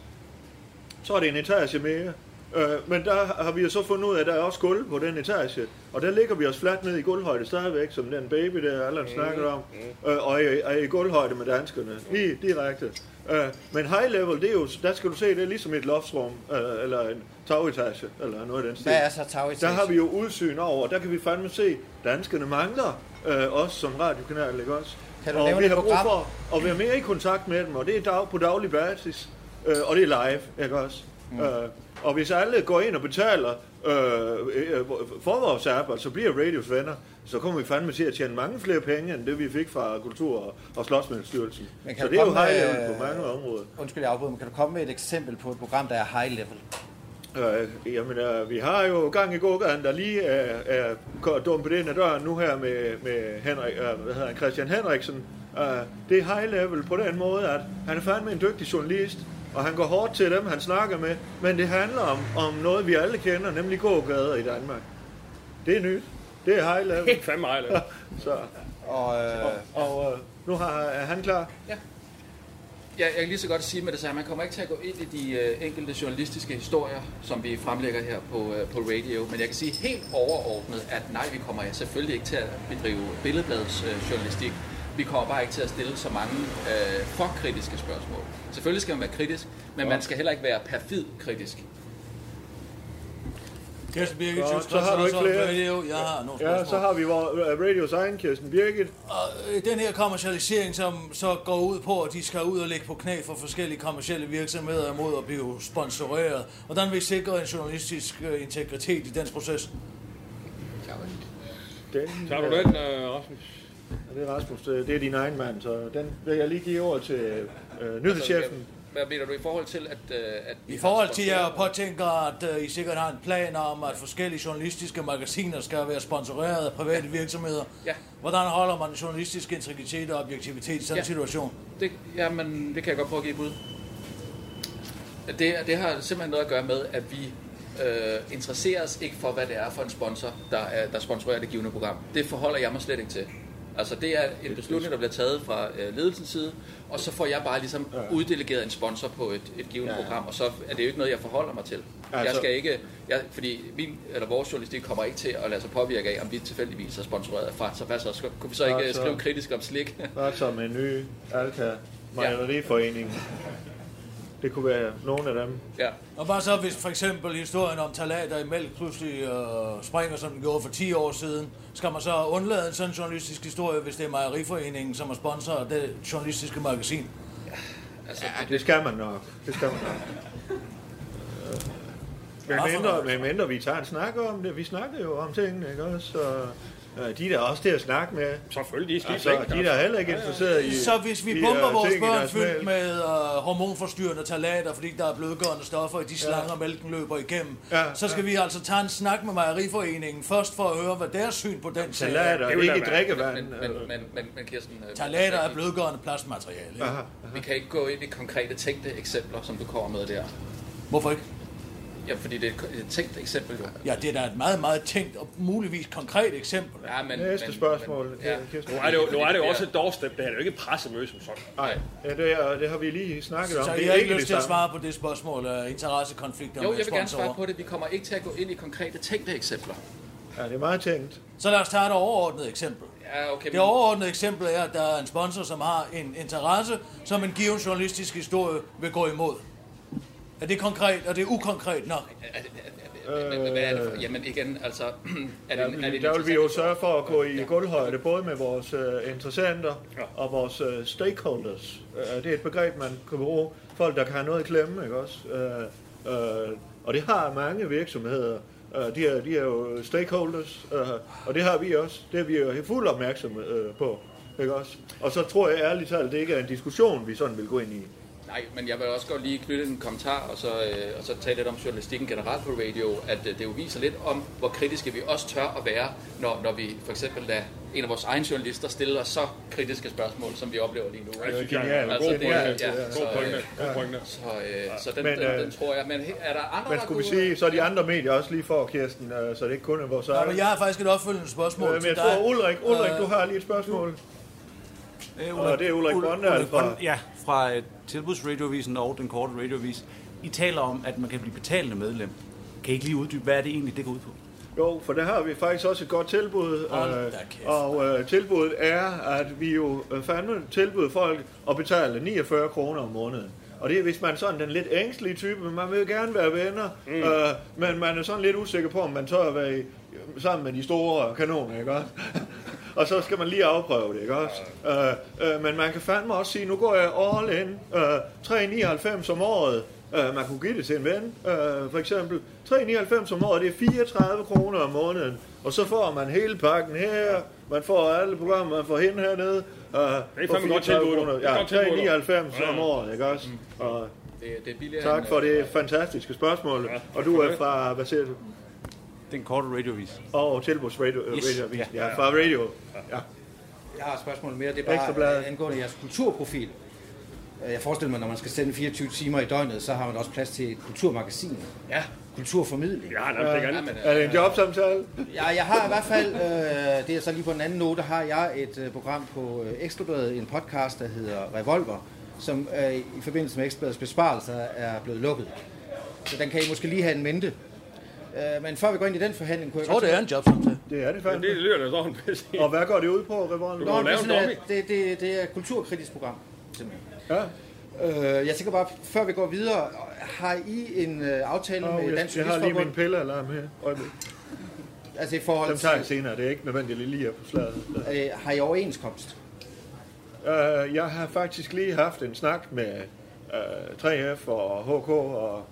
Speaker 5: så er det en etage mere. Øh, men der har vi jo så fundet ud af, at der er også gulv på den etage. Og der ligger vi os fladt ned i gulvhøjde stadigvæk, som den baby der,
Speaker 9: Mm,
Speaker 5: Allan snakker om. Øh, og er, er i gulvhøjde med danskerne.
Speaker 9: Mm.
Speaker 5: Lige direkte. Øh, men high level, det er jo, der skal du se, det er ligesom et loftsrum, øh, eller en tagetage, eller noget af den stil.
Speaker 9: Hvad er så tagetage?
Speaker 5: Der har vi jo udsyn over, og der kan vi fandme se, danskerne mangler øh, os som radiokanal, ikke også?
Speaker 9: Kan du
Speaker 5: og
Speaker 9: nævne
Speaker 5: vi
Speaker 9: et
Speaker 5: har brug
Speaker 9: program?
Speaker 5: for at være mere i kontakt med dem, og det er dag, på daglig basis, øh, og det er live, ikke også? Mm. Øh, og hvis alle går ind og betaler øh, øh, for vores arbejde, så bliver Radios venner, så kommer vi fandme til at tjene mange flere penge, end det vi fik fra Kultur- og, og Slottsmiddelstyrelsen.
Speaker 9: Men kan
Speaker 5: Så
Speaker 9: du
Speaker 5: det er jo
Speaker 9: komme med,
Speaker 5: high level på
Speaker 9: øh,
Speaker 5: mange områder.
Speaker 9: Undskyld, jeg afbryder, men kan du komme med et eksempel på et program, der er high level?
Speaker 5: Øh, jamen, øh, vi har jo gang i gågaden, der lige er, er går- dumpet ind ad døren nu her med, med Henrik, øh, hvad hedder han, Christian Henriksen. Øh, det er high level på den måde, at han er fandme en dygtig journalist, og han går hårdt til dem, han snakker med, men det handler om, om noget, vi alle kender, nemlig gågader i Danmark. Det er nyt. Det er high level.
Speaker 3: Fandme ejle.
Speaker 5: Så,
Speaker 9: Og, øh,
Speaker 5: og øh, Nu har, er han klar.
Speaker 4: Ja, jeg kan lige så godt sige med det samme, man kommer ikke til at gå ind i de øh, enkelte journalistiske historier, som vi fremlægger her på, øh, på radio, men jeg kan sige helt overordnet, at nej, vi kommer selvfølgelig ikke til at bedrive billedbladets øh, journalistik. Vi kommer bare ikke til at stille så mange øh, for kritiske spørgsmål. Selvfølgelig skal man være kritisk, men man skal heller ikke være perfid kritisk.
Speaker 8: Kirsten Birgit,
Speaker 5: Godt,
Speaker 8: Tysk,
Speaker 5: så har du ikke flere.
Speaker 8: Radio. Jeg har nogle
Speaker 5: Ja,
Speaker 8: spørgsmål.
Speaker 5: så har vi vores øh, radios egen Kirsten Birgit.
Speaker 8: Og øh, den her kommercialisering, som så går ud på, at de skal ud og ligge på knæ for forskellige kommercielle virksomheder imod at blive sponsoreret. Hvordan vil I sikre en journalistisk øh, integritet i den proces?
Speaker 5: Den,
Speaker 3: Tager du den, øh, Rasmus?
Speaker 5: øh, Det er Rasmus, øh, det er din egen mand, så den vil jeg lige give over til øh, nyhedschefen.
Speaker 4: Hvad mener du i forhold til, at... Øh, at vi
Speaker 8: I
Speaker 4: har
Speaker 8: forhold til, at jeg
Speaker 4: sponsoreret-
Speaker 8: påtænker, at øh, I sikkert har en plan om, at forskellige journalistiske magasiner skal være sponsoreret af private virksomheder.
Speaker 4: Ja.
Speaker 8: Hvordan holder man den journalistiske integritet og objektivitet i sådan en
Speaker 4: Ja.
Speaker 8: situation?
Speaker 4: Det, jamen, det kan jeg godt prøve at give et bud. Det, det har simpelthen noget at gøre med, at vi øh, interesserer os ikke for, hvad det er for en sponsor, der, er, der sponsorerer det givende program. Det forholder jeg mig slet ikke til. Altså, det er en beslutning, der bliver taget fra øh, ledelsens side, og så får jeg bare ligesom uddelegeret en sponsor på et, et givende program, og så er det jo ikke noget, jeg forholder mig til. Jeg
Speaker 5: Altså-
Speaker 4: skal ikke, jeg, fordi min, eller vores journalistik kommer ikke til at lade sig påvirke af, om vi tilfældigvis er sponsoreret af Fats, så hvad så? Skal- Kunne vi så ikke
Speaker 5: Altså-
Speaker 4: altså... skrive kritisk om slik?
Speaker 5: Bare som en ny Alka Mejeriforeningen. Det kunne være nogle af dem.
Speaker 4: ja.
Speaker 8: Og bare så, hvis for eksempel historien om talater i mælk pludselig øh, springer, som den gjorde for 10 år siden, skal man så undlade en sådan journalistisk historie, hvis det er mejeriforeningen, som er sponsor af det journalistiske magasin?
Speaker 4: Altså,
Speaker 5: Ja, det skal man nok. Det skal man nok. Øh, Men mindre, men mindre vi tager en snak om det. Vi snakker jo om tingene, ikke også? Så, øh, de er da også til at snakke med.
Speaker 3: Selvfølgelig, de skal
Speaker 5: Altså, de er da heller ikke interesseret i
Speaker 8: Så hvis vi
Speaker 5: i,
Speaker 8: pumper
Speaker 5: øh,
Speaker 8: vores
Speaker 5: ting i
Speaker 8: børn
Speaker 5: deres
Speaker 8: fyldt
Speaker 5: mælk.
Speaker 8: med øh, hormonforstyrrende talater, fordi der er blødgørende stoffer i de slanger, mælken løber igennem,
Speaker 5: Ja,
Speaker 8: så skal vi altså tage en snak med mejeriforeningen først for at høre, hvad deres syn på den sag er.
Speaker 5: Salater,
Speaker 3: Det vil da
Speaker 5: ikke
Speaker 3: være-
Speaker 5: drikkevand.
Speaker 4: Men, men, men, men, men Kirsten, øh,
Speaker 8: Talater
Speaker 4: vi-
Speaker 8: er blødgørende plastmateriale. ikke?
Speaker 4: vi kan ikke gå ind i konkrete tænkte eksempler, som du kommer med der.
Speaker 8: Hvorfor ikke?
Speaker 4: Ja, fordi det er et- et tænkt eksempel jo.
Speaker 8: Ja, det er da et meget, meget tænkt og muligvis konkret eksempel.
Speaker 4: Ja, men,
Speaker 5: Næste spørgsmål, Kirsten.
Speaker 3: Nu er det jo, nu er det jo også et doorstep, det her. Det er jo ikke et pressemøde som sådan.
Speaker 5: Nej, ja, det, er, det har vi lige snakket om.
Speaker 8: Så
Speaker 5: det
Speaker 8: jeg
Speaker 5: er
Speaker 8: har ikke
Speaker 5: ikke det
Speaker 8: lyst til at
Speaker 5: samme.
Speaker 8: svare på det spørgsmål øh, af interessekonflikter
Speaker 4: Jo,
Speaker 8: med
Speaker 4: jeg vil gerne
Speaker 8: øh, sponsorer.
Speaker 4: svare på det. Vi kommer ikke til at gå ind i konkrete tænkte eksempler.
Speaker 5: Ja, det er meget tænkt.
Speaker 8: Så lad os tage et overordnet eksempel.
Speaker 4: Ja, okay,
Speaker 8: Det overordnede eksempel er, at der er en sponsor, som har en interesse, som en given journalistisk historie vil gå imod. Er det konkret, og det er ukonkret nok?
Speaker 4: men, hvad er det for? Jamen igen, altså... Er det,
Speaker 5: Ja,
Speaker 4: en- er det
Speaker 5: men
Speaker 4: en
Speaker 5: der vil vi jo
Speaker 4: interessant-
Speaker 5: sørge for at gå i gulvhøjde, både med vores øh, interessenter og vores øh, stakeholders. Øh, det er et begreb, man kan bruge. Folk, der kan have noget at klemme, ikke også? Øh, øh, og det har mange virksomheder. Øh, de, er, de er jo stakeholders, øh, og det har vi også. Det er vi jo helt fuld opmærksomme øh, på, ikke også? Og så tror jeg ærligt talt, det ikke er en diskussion, vi sådan vil gå ind i.
Speaker 4: Nej, men jeg vil også godt lige knytte en kommentar, og så, øh, og så tale lidt om journalistikken generelt på radio, at øh, det jo viser lidt om, hvor kritiske vi også tør at være, når, når vi for eksempel lader en af vores egne journalister stille os så kritiske spørgsmål, som vi oplever lige nu.
Speaker 3: Det
Speaker 4: ikke?
Speaker 3: synes jeg
Speaker 5: genialt.
Speaker 3: er en god
Speaker 4: Altså,
Speaker 3: pointe.
Speaker 4: det er- ja,
Speaker 3: God
Speaker 4: så, øh,
Speaker 3: pointe. God pointe.
Speaker 4: Så, øh, så den,
Speaker 5: Men,
Speaker 4: den,
Speaker 5: øh,
Speaker 4: den, tror jeg. Men he- er der andre,
Speaker 5: Men
Speaker 4: der
Speaker 5: skulle vi
Speaker 4: kunne- øh,
Speaker 5: sige, så er de andre medier også lige for, Kirsten, øh, så det ikke kun er vores
Speaker 8: Ja,
Speaker 5: eget.
Speaker 8: men jeg har faktisk et opfølgende spørgsmål
Speaker 5: Øh, men
Speaker 8: til
Speaker 5: jeg
Speaker 8: dig.
Speaker 5: tror, Ulrik, Ulrik, du
Speaker 8: Øh,
Speaker 5: har lige et spørgsmål.
Speaker 10: Øh,
Speaker 5: Og det er altså. Ulrik Bondal fra-
Speaker 10: Bond- Ja, fra øh, Tilbudsradioavisen og den korte radioavis. I taler om, at man kan blive betalende medlem. Kan I ikke lige uddybe, hvad er det egentlig, det går ud på?
Speaker 5: Jo, for der har vi faktisk også et godt tilbud.
Speaker 8: Hold da
Speaker 5: øh,
Speaker 8: kæft.
Speaker 5: og øh, tilbuddet er, at vi jo øh, fandme tilbyder folk at betale 49 kroner om måneden. Og det er, hvis man er sådan den lidt ængstelige type, men man vil jo gerne være venner, mm. øh, men man er sådan lidt usikker på, om man tør at være i, sammen med de store kanoner, ikke også? og så skal man lige afprøve det, ikke også? Øh, øh, men man kan fandme også sige, nu går jeg all in, øh, 3,99 om året, Øh, man kunne give det til en ven, øh, for eksempel. 3,99 om året, det er 34 kroner om måneden. Og så får man hele pakken her, man får alle programmer, man får hende hernede. Øh, det er
Speaker 3: fandme godt tilbud, du. Det er
Speaker 5: Ja,
Speaker 3: godt tilbud, du.
Speaker 5: 3,99 om året, ikke også? Og
Speaker 4: Det, det er billigere
Speaker 5: tak
Speaker 4: end,
Speaker 5: for
Speaker 4: øh,
Speaker 5: det fantastiske spørgsmål. Og du er fra, hvad siger du?
Speaker 10: Den korte radioavis.
Speaker 5: Og Tilbuds Radio, øh,
Speaker 10: Yes.
Speaker 5: radio ja, fra Radio. Ja.
Speaker 9: Jeg har et spørgsmål mere. Det er
Speaker 5: Ekstra
Speaker 9: bare
Speaker 5: bladet.
Speaker 9: øh, angående jeres kulturprofil. Øh, Jeg forestiller mig, når man skal sende 24 timer i døgnet, så har man også plads til et kulturmagasin.
Speaker 4: Ja,
Speaker 9: kulturformidling.
Speaker 3: Ja, nej, det er ikke andet.
Speaker 5: Er det en jobsamtale?
Speaker 9: Ja, jeg har i hvert fald, øh, det er så lige på en anden note, har jeg et øh, program på øh, Ekstrabladet, en podcast, der hedder Revolver, som øh, i forbindelse med Ekstrabladets besparelser er blevet lukket. Så den kan I måske lige have en mente. Øh, men før vi går ind i den forhandling, kunne jeg
Speaker 8: tror, det er en jobsamtale.
Speaker 5: Det er det
Speaker 3: Jamen, det
Speaker 5: faktisk.
Speaker 3: lyder da sådan, hvis I...
Speaker 5: Og hvad går det ud på, Revolver?
Speaker 3: Du må
Speaker 9: Nå,
Speaker 3: jo
Speaker 9: men det,
Speaker 3: lave
Speaker 9: er
Speaker 3: en
Speaker 9: sådan,
Speaker 3: dummy.
Speaker 9: at det, det, det er et kulturkritisk program, simpelthen.
Speaker 5: Ja.
Speaker 9: Øh, jeg tænker bare, før vi går videre, har I en øh, aftale
Speaker 5: Nå,
Speaker 9: med
Speaker 5: jeg,
Speaker 9: Dansk
Speaker 5: jeg har lige
Speaker 9: Journalistforbund?
Speaker 5: min pillealarm her. Øjeblik.
Speaker 9: Altså i forhold
Speaker 5: Dem tager jeg senere, det er ikke nødvendigt, at jeg lige er på slaget.
Speaker 9: til, øh, har I overenskomst?
Speaker 5: Øh, jeg har faktisk lige haft en snak med øh, 3F og HK og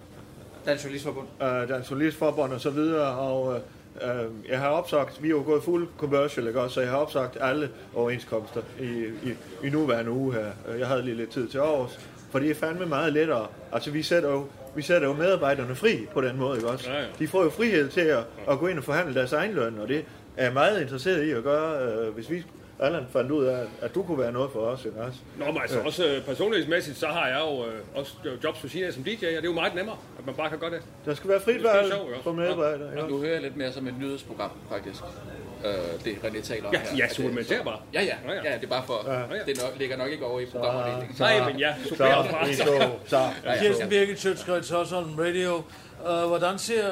Speaker 9: Dansk Journalistforbund?
Speaker 5: øh, Dansk Journalistforbund og så videre, og øh, øh, jeg har opsagt, vi er jo gået fuld commercial, ikke også, så jeg har opsagt alle overenskomster i, i, i nuværende uge her. Øh, Jeg havde lige lidt tid til års, for det er fandme meget lettere. Altså, vi sætter jo, vi sætter jo medarbejderne fri på den måde, ikke også?
Speaker 3: Ja, ja.
Speaker 5: De får jo frihed til at, at gå ind og forhandle deres egen løn, og det er jeg meget interesseret i at gøre, øh, hvis vi Allan fandt ud af, at du kunne være noget for os, ikke også?
Speaker 3: Nå, men altså også øh, personlighedsmæssigt, så har jeg jo øh, også jobs ved siden af som DJ, og det er jo meget nemmere, at man bare kan gøre det.
Speaker 5: Der skal være frit
Speaker 3: Det er
Speaker 5: valg
Speaker 3: sjovt, ikke også?
Speaker 5: for medarbejdere, ikke
Speaker 4: Og
Speaker 5: også?
Speaker 4: nu hører jeg lidt mere som et nyhedsprogram, faktisk. Øh, det René taler om
Speaker 3: Ja,
Speaker 4: her.
Speaker 3: ja,
Speaker 4: At det-
Speaker 3: supplementerer bare.
Speaker 4: Ja, ja,
Speaker 3: Ja, ja.
Speaker 4: ja, det er bare for,
Speaker 3: ja.
Speaker 4: det nok, ligger nok ikke over i
Speaker 5: øh,
Speaker 4: programmet.
Speaker 3: Nej, men ja,
Speaker 5: Så,
Speaker 3: supplerer bare.
Speaker 5: en, to, så.
Speaker 8: Kirsten Birgit Sjøtskred Tosholm Radio. Uh, hvordan ser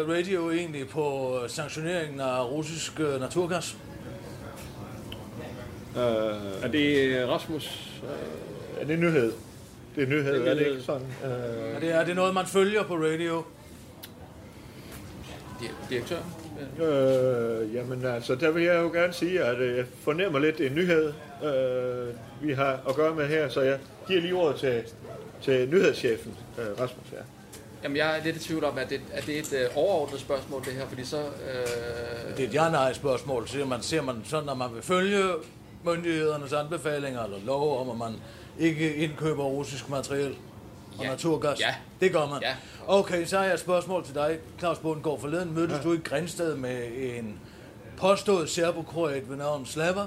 Speaker 8: øh, radio egentlig på øh, sanktioneringen af russisk øh, naturgas?
Speaker 3: Er det øh, Rasmus?
Speaker 5: Er det nyhed? Det er nyhed,
Speaker 3: Det
Speaker 5: det
Speaker 3: er
Speaker 5: er, er det
Speaker 3: nyhed.
Speaker 5: ikke sådan? Øh,
Speaker 8: Er det, er det noget, man følger på radio?
Speaker 4: Di- Direktør?
Speaker 5: øh, jamen altså, der vil jeg jo gerne sige, at øh, jeg fornemmer lidt en nyhed, øh, vi har at gøre med her, så jeg giver lige ordet til, til nyhedschefen, øh, Rasmus. Ja.
Speaker 4: Jamen, jeg er lidt i tvivl om, at det, at det er et øh, overordnet spørgsmål, det her, fordi så... Øh,
Speaker 8: Det er et ja-nej-spørgsmål. Ser man, ser man sådan, at man vil følge myndighedernes anbefalinger eller lov om, at man ikke indkøber russisk materiel og
Speaker 4: Ja.
Speaker 8: naturgas?
Speaker 4: Ja.
Speaker 8: Det gør man.
Speaker 4: Ja.
Speaker 8: Okay, så har jeg et spørgsmål til dig, Claus Bundgaard. Forleden mødtes du i Grænsted med en påstået serbokroat ved navn Slava.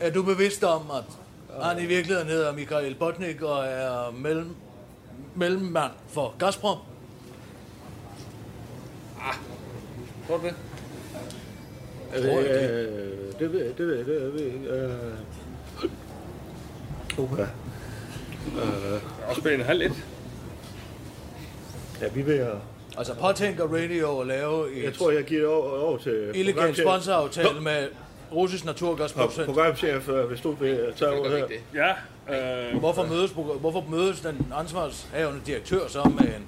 Speaker 8: Er du bevidst om, at han i virkeligheden hedder Michael Botnik og er mellem, mellemmand for Gazprom?
Speaker 4: tror du det?
Speaker 5: Øh, det ved jeg, det ved jeg, det ved jeg. ikke. Øh, Uha.
Speaker 3: Også spille en halv et.
Speaker 5: Ja, vi vil,
Speaker 8: Altså påtænker radio at lave et
Speaker 5: jeg tror, jeg giver det over, over til
Speaker 8: illegal
Speaker 5: programchef-
Speaker 8: sponsoraftale med russisk naturgasproducent.
Speaker 5: programchef, øh, hvis du vil tage
Speaker 4: Det
Speaker 5: over
Speaker 4: gør
Speaker 5: her.
Speaker 4: ikke det.
Speaker 3: Ja, øh,
Speaker 8: Hvorfor mødes, hvorfor mødes den ansvarshavende direktør så med en,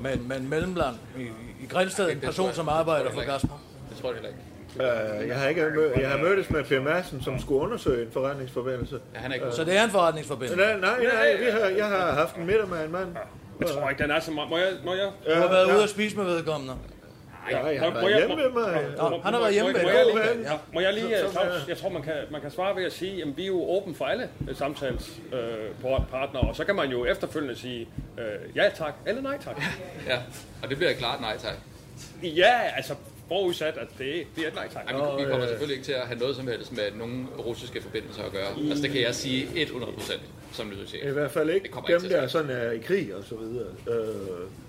Speaker 8: med en, med en mellemland i, i Grænsted, en
Speaker 4: det tror
Speaker 8: person,
Speaker 4: jeg-
Speaker 8: som
Speaker 4: det tror
Speaker 8: arbejder
Speaker 4: jeg
Speaker 8: for
Speaker 4: ikke.
Speaker 8: Gazprom?
Speaker 4: Det tror jeg heller ikke.
Speaker 5: Øh, jeg har ikke mød, jeg har mødtes med Per Madsen, som skulle undersøge en forretningsforbindelse. øh,
Speaker 4: Ja, han er ikke...
Speaker 8: Så det er en forretningsforbindelse.
Speaker 5: Nej, nej, nej, vi har, jeg har haft en middag med en mand.
Speaker 3: jeg tror ikke, den er så meget. Må jeg... Må jeg,
Speaker 8: Du har været ude at spise med vedkommende.
Speaker 5: Ja, jeg har
Speaker 3: Må- må
Speaker 5: været
Speaker 3: jeg-
Speaker 5: hjemme
Speaker 3: må-
Speaker 5: med mig.
Speaker 8: Nå, han har været hjemme
Speaker 3: må,
Speaker 8: med
Speaker 3: må, jeg
Speaker 8: dig.
Speaker 3: lige,
Speaker 8: Ja.
Speaker 3: må jeg lige,
Speaker 5: Så-
Speaker 3: øh,
Speaker 5: så-
Speaker 3: Claus, jeg tror, man kan, man kan svare ved at sige, at vi er jo åben for alle øh, samtals øh, partnere, og så kan man jo efterfølgende sige øh, ja tak eller nej tak.
Speaker 4: Ja, og det bliver et klart nej, tak.
Speaker 3: Ja, altså forudsat, at det, det er et nej tak.
Speaker 4: Ej, vi, vi kommer selvfølgelig ikke til at have noget som helst med nogen russiske forbindelser at gøre. Altså, det kan jeg sige 100% som nyhedschef.
Speaker 5: I hvert fald ikke
Speaker 4: Det kommer
Speaker 5: dem,
Speaker 4: ikke til at
Speaker 5: der er sådan er i krig og så videre. Øh,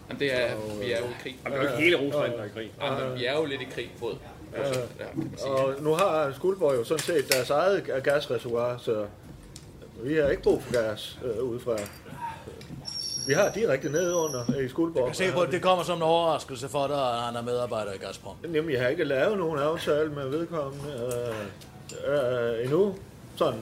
Speaker 4: Jamen, det er, vi er jo i krig.
Speaker 3: Det er jo ikke hele Rusland, der er i krig.
Speaker 4: Jamen, vi er jo lidt i krig mod Rusland, ja, kan man sige.
Speaker 5: og nu har Skuldborg jo sådan set deres eget gasreservoir, så vi har ikke brug for gas øh, udefra. Vi har direkte nedunder i Skuldborg.
Speaker 8: Se på, at det kommer som en overraskelse for dig, at han er medarbejder i Gazprom.
Speaker 5: Jamen, jeg har ikke lavet nogen aftale med vedkommende øh, øh, endnu. Sådan.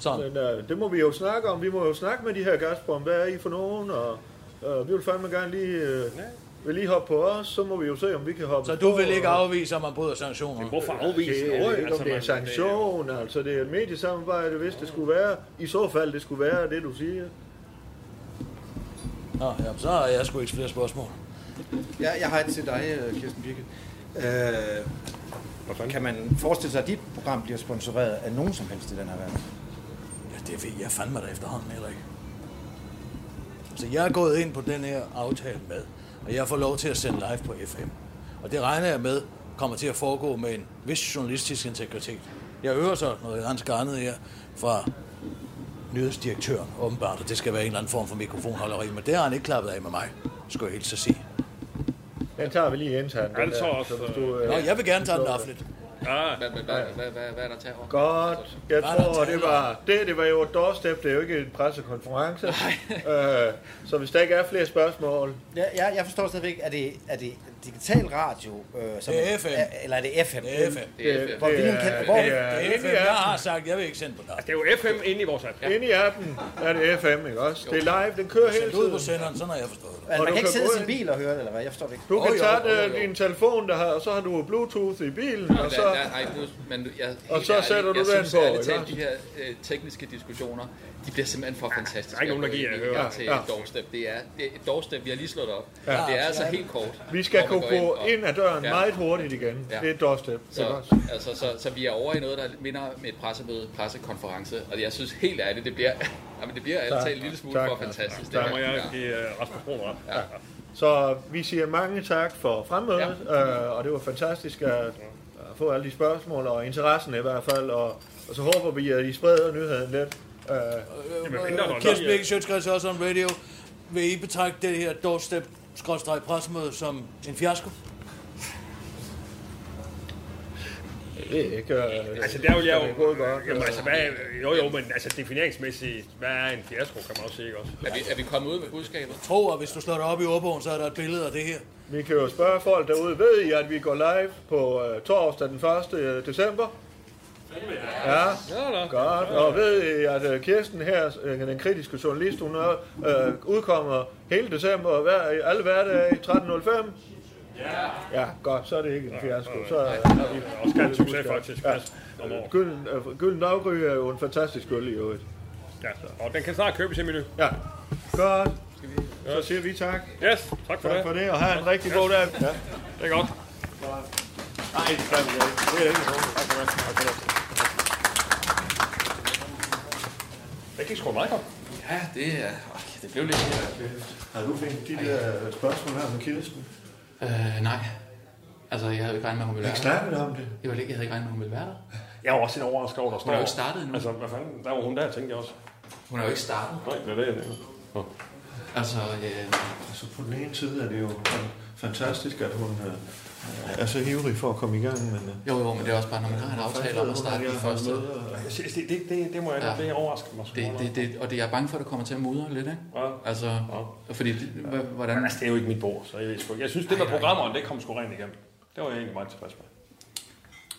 Speaker 8: Sådan.
Speaker 5: Men øh, det må vi jo snakke om. Vi må jo snakke med de her Gazprom. Hvad er I for nogen? Og, øh, vi vil fandme gerne lige, øh, vil lige hoppe på os. Så må vi jo se, om vi kan hoppe
Speaker 8: Så
Speaker 5: på,
Speaker 8: du vil ikke
Speaker 5: og-
Speaker 8: afvise, at man bryder sanktionerne?
Speaker 3: Hvorfor afvise
Speaker 5: Det
Speaker 3: noget? Altså,
Speaker 5: er ikke, om det er
Speaker 3: man-
Speaker 5: sanktion, altså det er et mediesamarbejde, hvis det skulle være. I så fald, det skulle være det, du siger.
Speaker 8: Nå, jamen, så har jeg sgu ikke flere spørgsmål.
Speaker 9: Jeg, jeg har et til dig, øh, Kirsten Birke. Øh, kan man forestille sig, at dit program bliver sponsoreret af nogen som helst i den her verden?
Speaker 8: Ja, det ved jeg fandme da efterhånden heller ikke. Så jeg er gået ind på den her aftale med, og jeg får lov til at sende live på FM. Og det regner jeg med kommer til at foregå med en vis journalistisk integritet. Jeg øver så noget, Hans Garnet her fra nyhedsdirektøren, åbenbart, og det skal være en eller anden form for mikrofonholderi, men det har han ikke klappet af med mig, skulle jeg helt så sige.
Speaker 5: Den tager vi lige internt. den
Speaker 8: Altså
Speaker 5: der,
Speaker 8: også,
Speaker 5: så hvis
Speaker 8: øh, Nå, jeg vil gerne tage
Speaker 5: forstår
Speaker 8: den offentligt.
Speaker 3: Ja.
Speaker 4: Hvad, hvad, hvad, hvad, hvad, hvad er der til over?
Speaker 5: Godt. Jeg
Speaker 4: Hvad er der
Speaker 5: tror,
Speaker 4: tale
Speaker 5: det var, det, det var jo et doorstep, det er jo ikke en pressekonference. øh, så hvis der ikke er flere spørgsmål,
Speaker 9: Ja, jeg, jeg forstår stadigvæk, er det, er det digital radio? Øh,
Speaker 8: Det er FM.
Speaker 9: Er, eller er det Altså, FM?
Speaker 8: Det er FM.
Speaker 5: øh, Det er
Speaker 9: Hvor
Speaker 5: FM.
Speaker 9: William
Speaker 5: Det
Speaker 9: kan...
Speaker 5: er-
Speaker 9: Hvor,
Speaker 5: det er-
Speaker 8: Det er
Speaker 5: det
Speaker 8: FM,
Speaker 5: er-
Speaker 8: jeg har sagt, jeg vil ikke sende på dig.
Speaker 3: Det er jo FM inde i vores app.
Speaker 5: inde i appen er det FM, ikke også? Det er live, den kører hele
Speaker 8: Sendt ud
Speaker 5: tiden.
Speaker 8: på senderen, sådan har jeg forstået det.
Speaker 5: og
Speaker 9: altså, man
Speaker 5: du
Speaker 9: kan ikke
Speaker 5: kan
Speaker 9: sidde i
Speaker 5: gå
Speaker 9: sin
Speaker 5: ind.
Speaker 9: bil og høre det, eller hvad? Jeg forstår det ikke.
Speaker 5: Du kan
Speaker 8: Jo, jo,
Speaker 5: tage
Speaker 4: jo,
Speaker 5: det,
Speaker 4: jo.
Speaker 5: din telefon, der har, og så har du Bluetooth i bilen,
Speaker 4: Nej,
Speaker 5: og så...
Speaker 4: nej, nej, nu, men nu- jeg, helt
Speaker 5: Og så sætter du
Speaker 4: jeg
Speaker 5: den
Speaker 4: synes,
Speaker 5: på,
Speaker 4: ærligt
Speaker 5: ikke
Speaker 4: talt,
Speaker 5: også?
Speaker 4: de her øh, tekniske diskussioner, de bliver simpelthen for fantastiske.
Speaker 3: der er ikke nogen, der gider at
Speaker 4: at
Speaker 3: høre.
Speaker 4: høre. Til
Speaker 5: Ja.
Speaker 4: et doorstep. Det er, det er et doorstep, vi har lige slået op. Ja. Det er altså helt kort.
Speaker 5: Vi skal
Speaker 4: hvor man
Speaker 5: kunne
Speaker 4: går
Speaker 5: gå
Speaker 4: og-
Speaker 5: ind ad døren
Speaker 4: Ja.
Speaker 5: meget hurtigt igen.
Speaker 4: Ja.
Speaker 5: Det er et doorstep. Det er
Speaker 4: Så,
Speaker 5: godt.
Speaker 4: altså, så, så vi er over i noget, der minder om et pressemøde, pressekonference, og jeg synes helt ærligt, det bliver, jamen, det bliver altid en lille smule
Speaker 5: Tak,
Speaker 4: for
Speaker 5: Carsten.
Speaker 4: fantastisk.
Speaker 3: Der
Speaker 4: det
Speaker 3: må
Speaker 4: her.
Speaker 3: jeg
Speaker 4: Ja.
Speaker 3: give øh, Rasmus Brun ret.
Speaker 5: Så vi siger mange tak for fremmødet, øh, og det var fantastisk at, at få alle de spørgsmål og interessen i hvert fald, og, og så håber vi, at I spreder nyheden lidt. Øh,
Speaker 3: mindre der er
Speaker 8: Kirsten
Speaker 3: noget.
Speaker 8: Birke Sjøtskreds også on radio. Vil I betragte det her doorstep skrådstræk pressemøde som en fiasko?
Speaker 5: det er ikke... Øh,
Speaker 3: Altså, der vil jeg jo...
Speaker 5: Det er gået godt.
Speaker 3: Jamen, altså, hvad, jo, jo, men altså, defineringsmæssigt, hvad er en fiasko, kan man også sige, ikke også?
Speaker 4: Er, vi, er vi kommet ud med budskabet?
Speaker 8: Tro, at hvis du slår dig op i ordbogen, så er der et billede af det her.
Speaker 5: Vi kan jo spørge folk derude, ved I, at vi går live på øh, torsdag den 1. december? Ja, godt. Og ved I, at øh, Kirsten her, øh, den kritiske journalist, hun er, øh, udkommer hele december, hver, alle hverdage 13.05? Ja. Ja, godt, så er det ikke en fiasko. Så øh, har vi
Speaker 3: Også kan en succes, faktisk,
Speaker 5: Ja.
Speaker 3: også om året.
Speaker 5: Gylden, øh, Gylden Daggry er jo en fantastisk øl i øvrigt.
Speaker 3: Ja, og den kan snart købes i menu.
Speaker 5: Ja, godt. Så siger vi tak.
Speaker 3: Yes, tak for
Speaker 5: Tak
Speaker 3: det.
Speaker 5: for det, og have en rigtig god dag. Ja.
Speaker 3: Det er godt.
Speaker 5: Nej, det er det ikke. Det er det ikke. Tak for det. Tak for det.
Speaker 3: Det gik sgu meget godt.
Speaker 4: Ja, det, er, okay, det blev lidt...
Speaker 5: Har du fået de der spørgsmål her med Kirsten?
Speaker 4: Øh, nej. Altså, jeg havde jo ikke regnet med, at hun ville være der.
Speaker 5: Snakket om det?
Speaker 4: Jeg, ville ikke, jeg havde ikke regnet med, at hun ville være der.
Speaker 3: Jeg var også en overrasket over, der står...
Speaker 4: Hun er jo ikke startet endnu.
Speaker 3: Altså, hvad fanden? Der var hun der, tænkte jeg også.
Speaker 4: Hun er jo ikke startet.
Speaker 3: Nej, det er det, jeg tænker. Nå.
Speaker 4: Altså, øh,
Speaker 5: Altså på den ene side er det jo øh, fantastisk, at hun øh, er så ivrig for at komme i gang, men... øh,
Speaker 4: jo, jo, men det er også bare, når man har en aftale om at starte den første.
Speaker 3: Altså, Det, det, det, det, det må jeg
Speaker 4: Ja.
Speaker 3: ja. det overrasker mig sgu.
Speaker 4: Det, det, det, og det, jeg er bange for, at det kommer til at mudre lidt, ikke?
Speaker 3: Ja.
Speaker 4: Altså, fordi, hva-
Speaker 3: Men
Speaker 4: hvordan...
Speaker 3: altså, det er jo ikke mit bord, så jeg ved sgu ikke. Jeg synes, det med
Speaker 4: Ej, nej.
Speaker 3: programmerne, det kom sgu rent igennem. Det var jeg egentlig meget tilfreds med.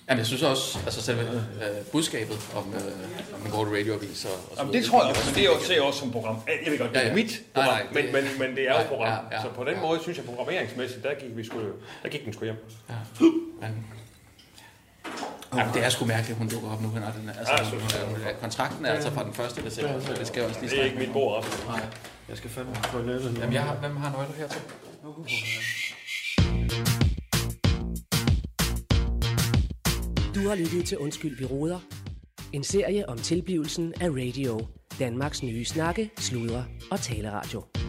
Speaker 4: Jamen, jeg synes også, altså selve øh, budskabet om, øh, om den korte radioavis og, og så
Speaker 3: Jamen,
Speaker 4: videre,
Speaker 3: det tror jeg
Speaker 4: var
Speaker 3: også, men det er jo ser jeg også som program. Jeg ved godt, det er
Speaker 4: Ja, ja.
Speaker 3: mit
Speaker 4: Nej,
Speaker 3: program,
Speaker 4: nej,
Speaker 3: men,
Speaker 4: det-
Speaker 3: men, men det er jo
Speaker 4: Ja,
Speaker 3: program.
Speaker 4: ja, ja,
Speaker 3: så på den
Speaker 4: ja.
Speaker 3: måde synes jeg, programmeringsmæssigt, der gik, vi sgu, der gik den sgu hjem.
Speaker 4: Men, Jamen, det er sgu mærkeligt, at hun dukker op nu. Hun er den, altså,
Speaker 3: Ja,
Speaker 4: hun, hun, hun, kontrakten er altså fra den 1. december, så det skal jeg også lige
Speaker 3: Det er
Speaker 4: snakke
Speaker 3: ikke mit bord, Rasmus.
Speaker 4: om. Nej.
Speaker 5: Jeg skal fandme på toilettet.
Speaker 4: Jamen, jeg har, hvem har nøgler hertil?
Speaker 6: Du har lyttet til Undskyld, vi råder. En serie om tilblivelsen af radio. Danmarks nye snakke, sludre og taleradio.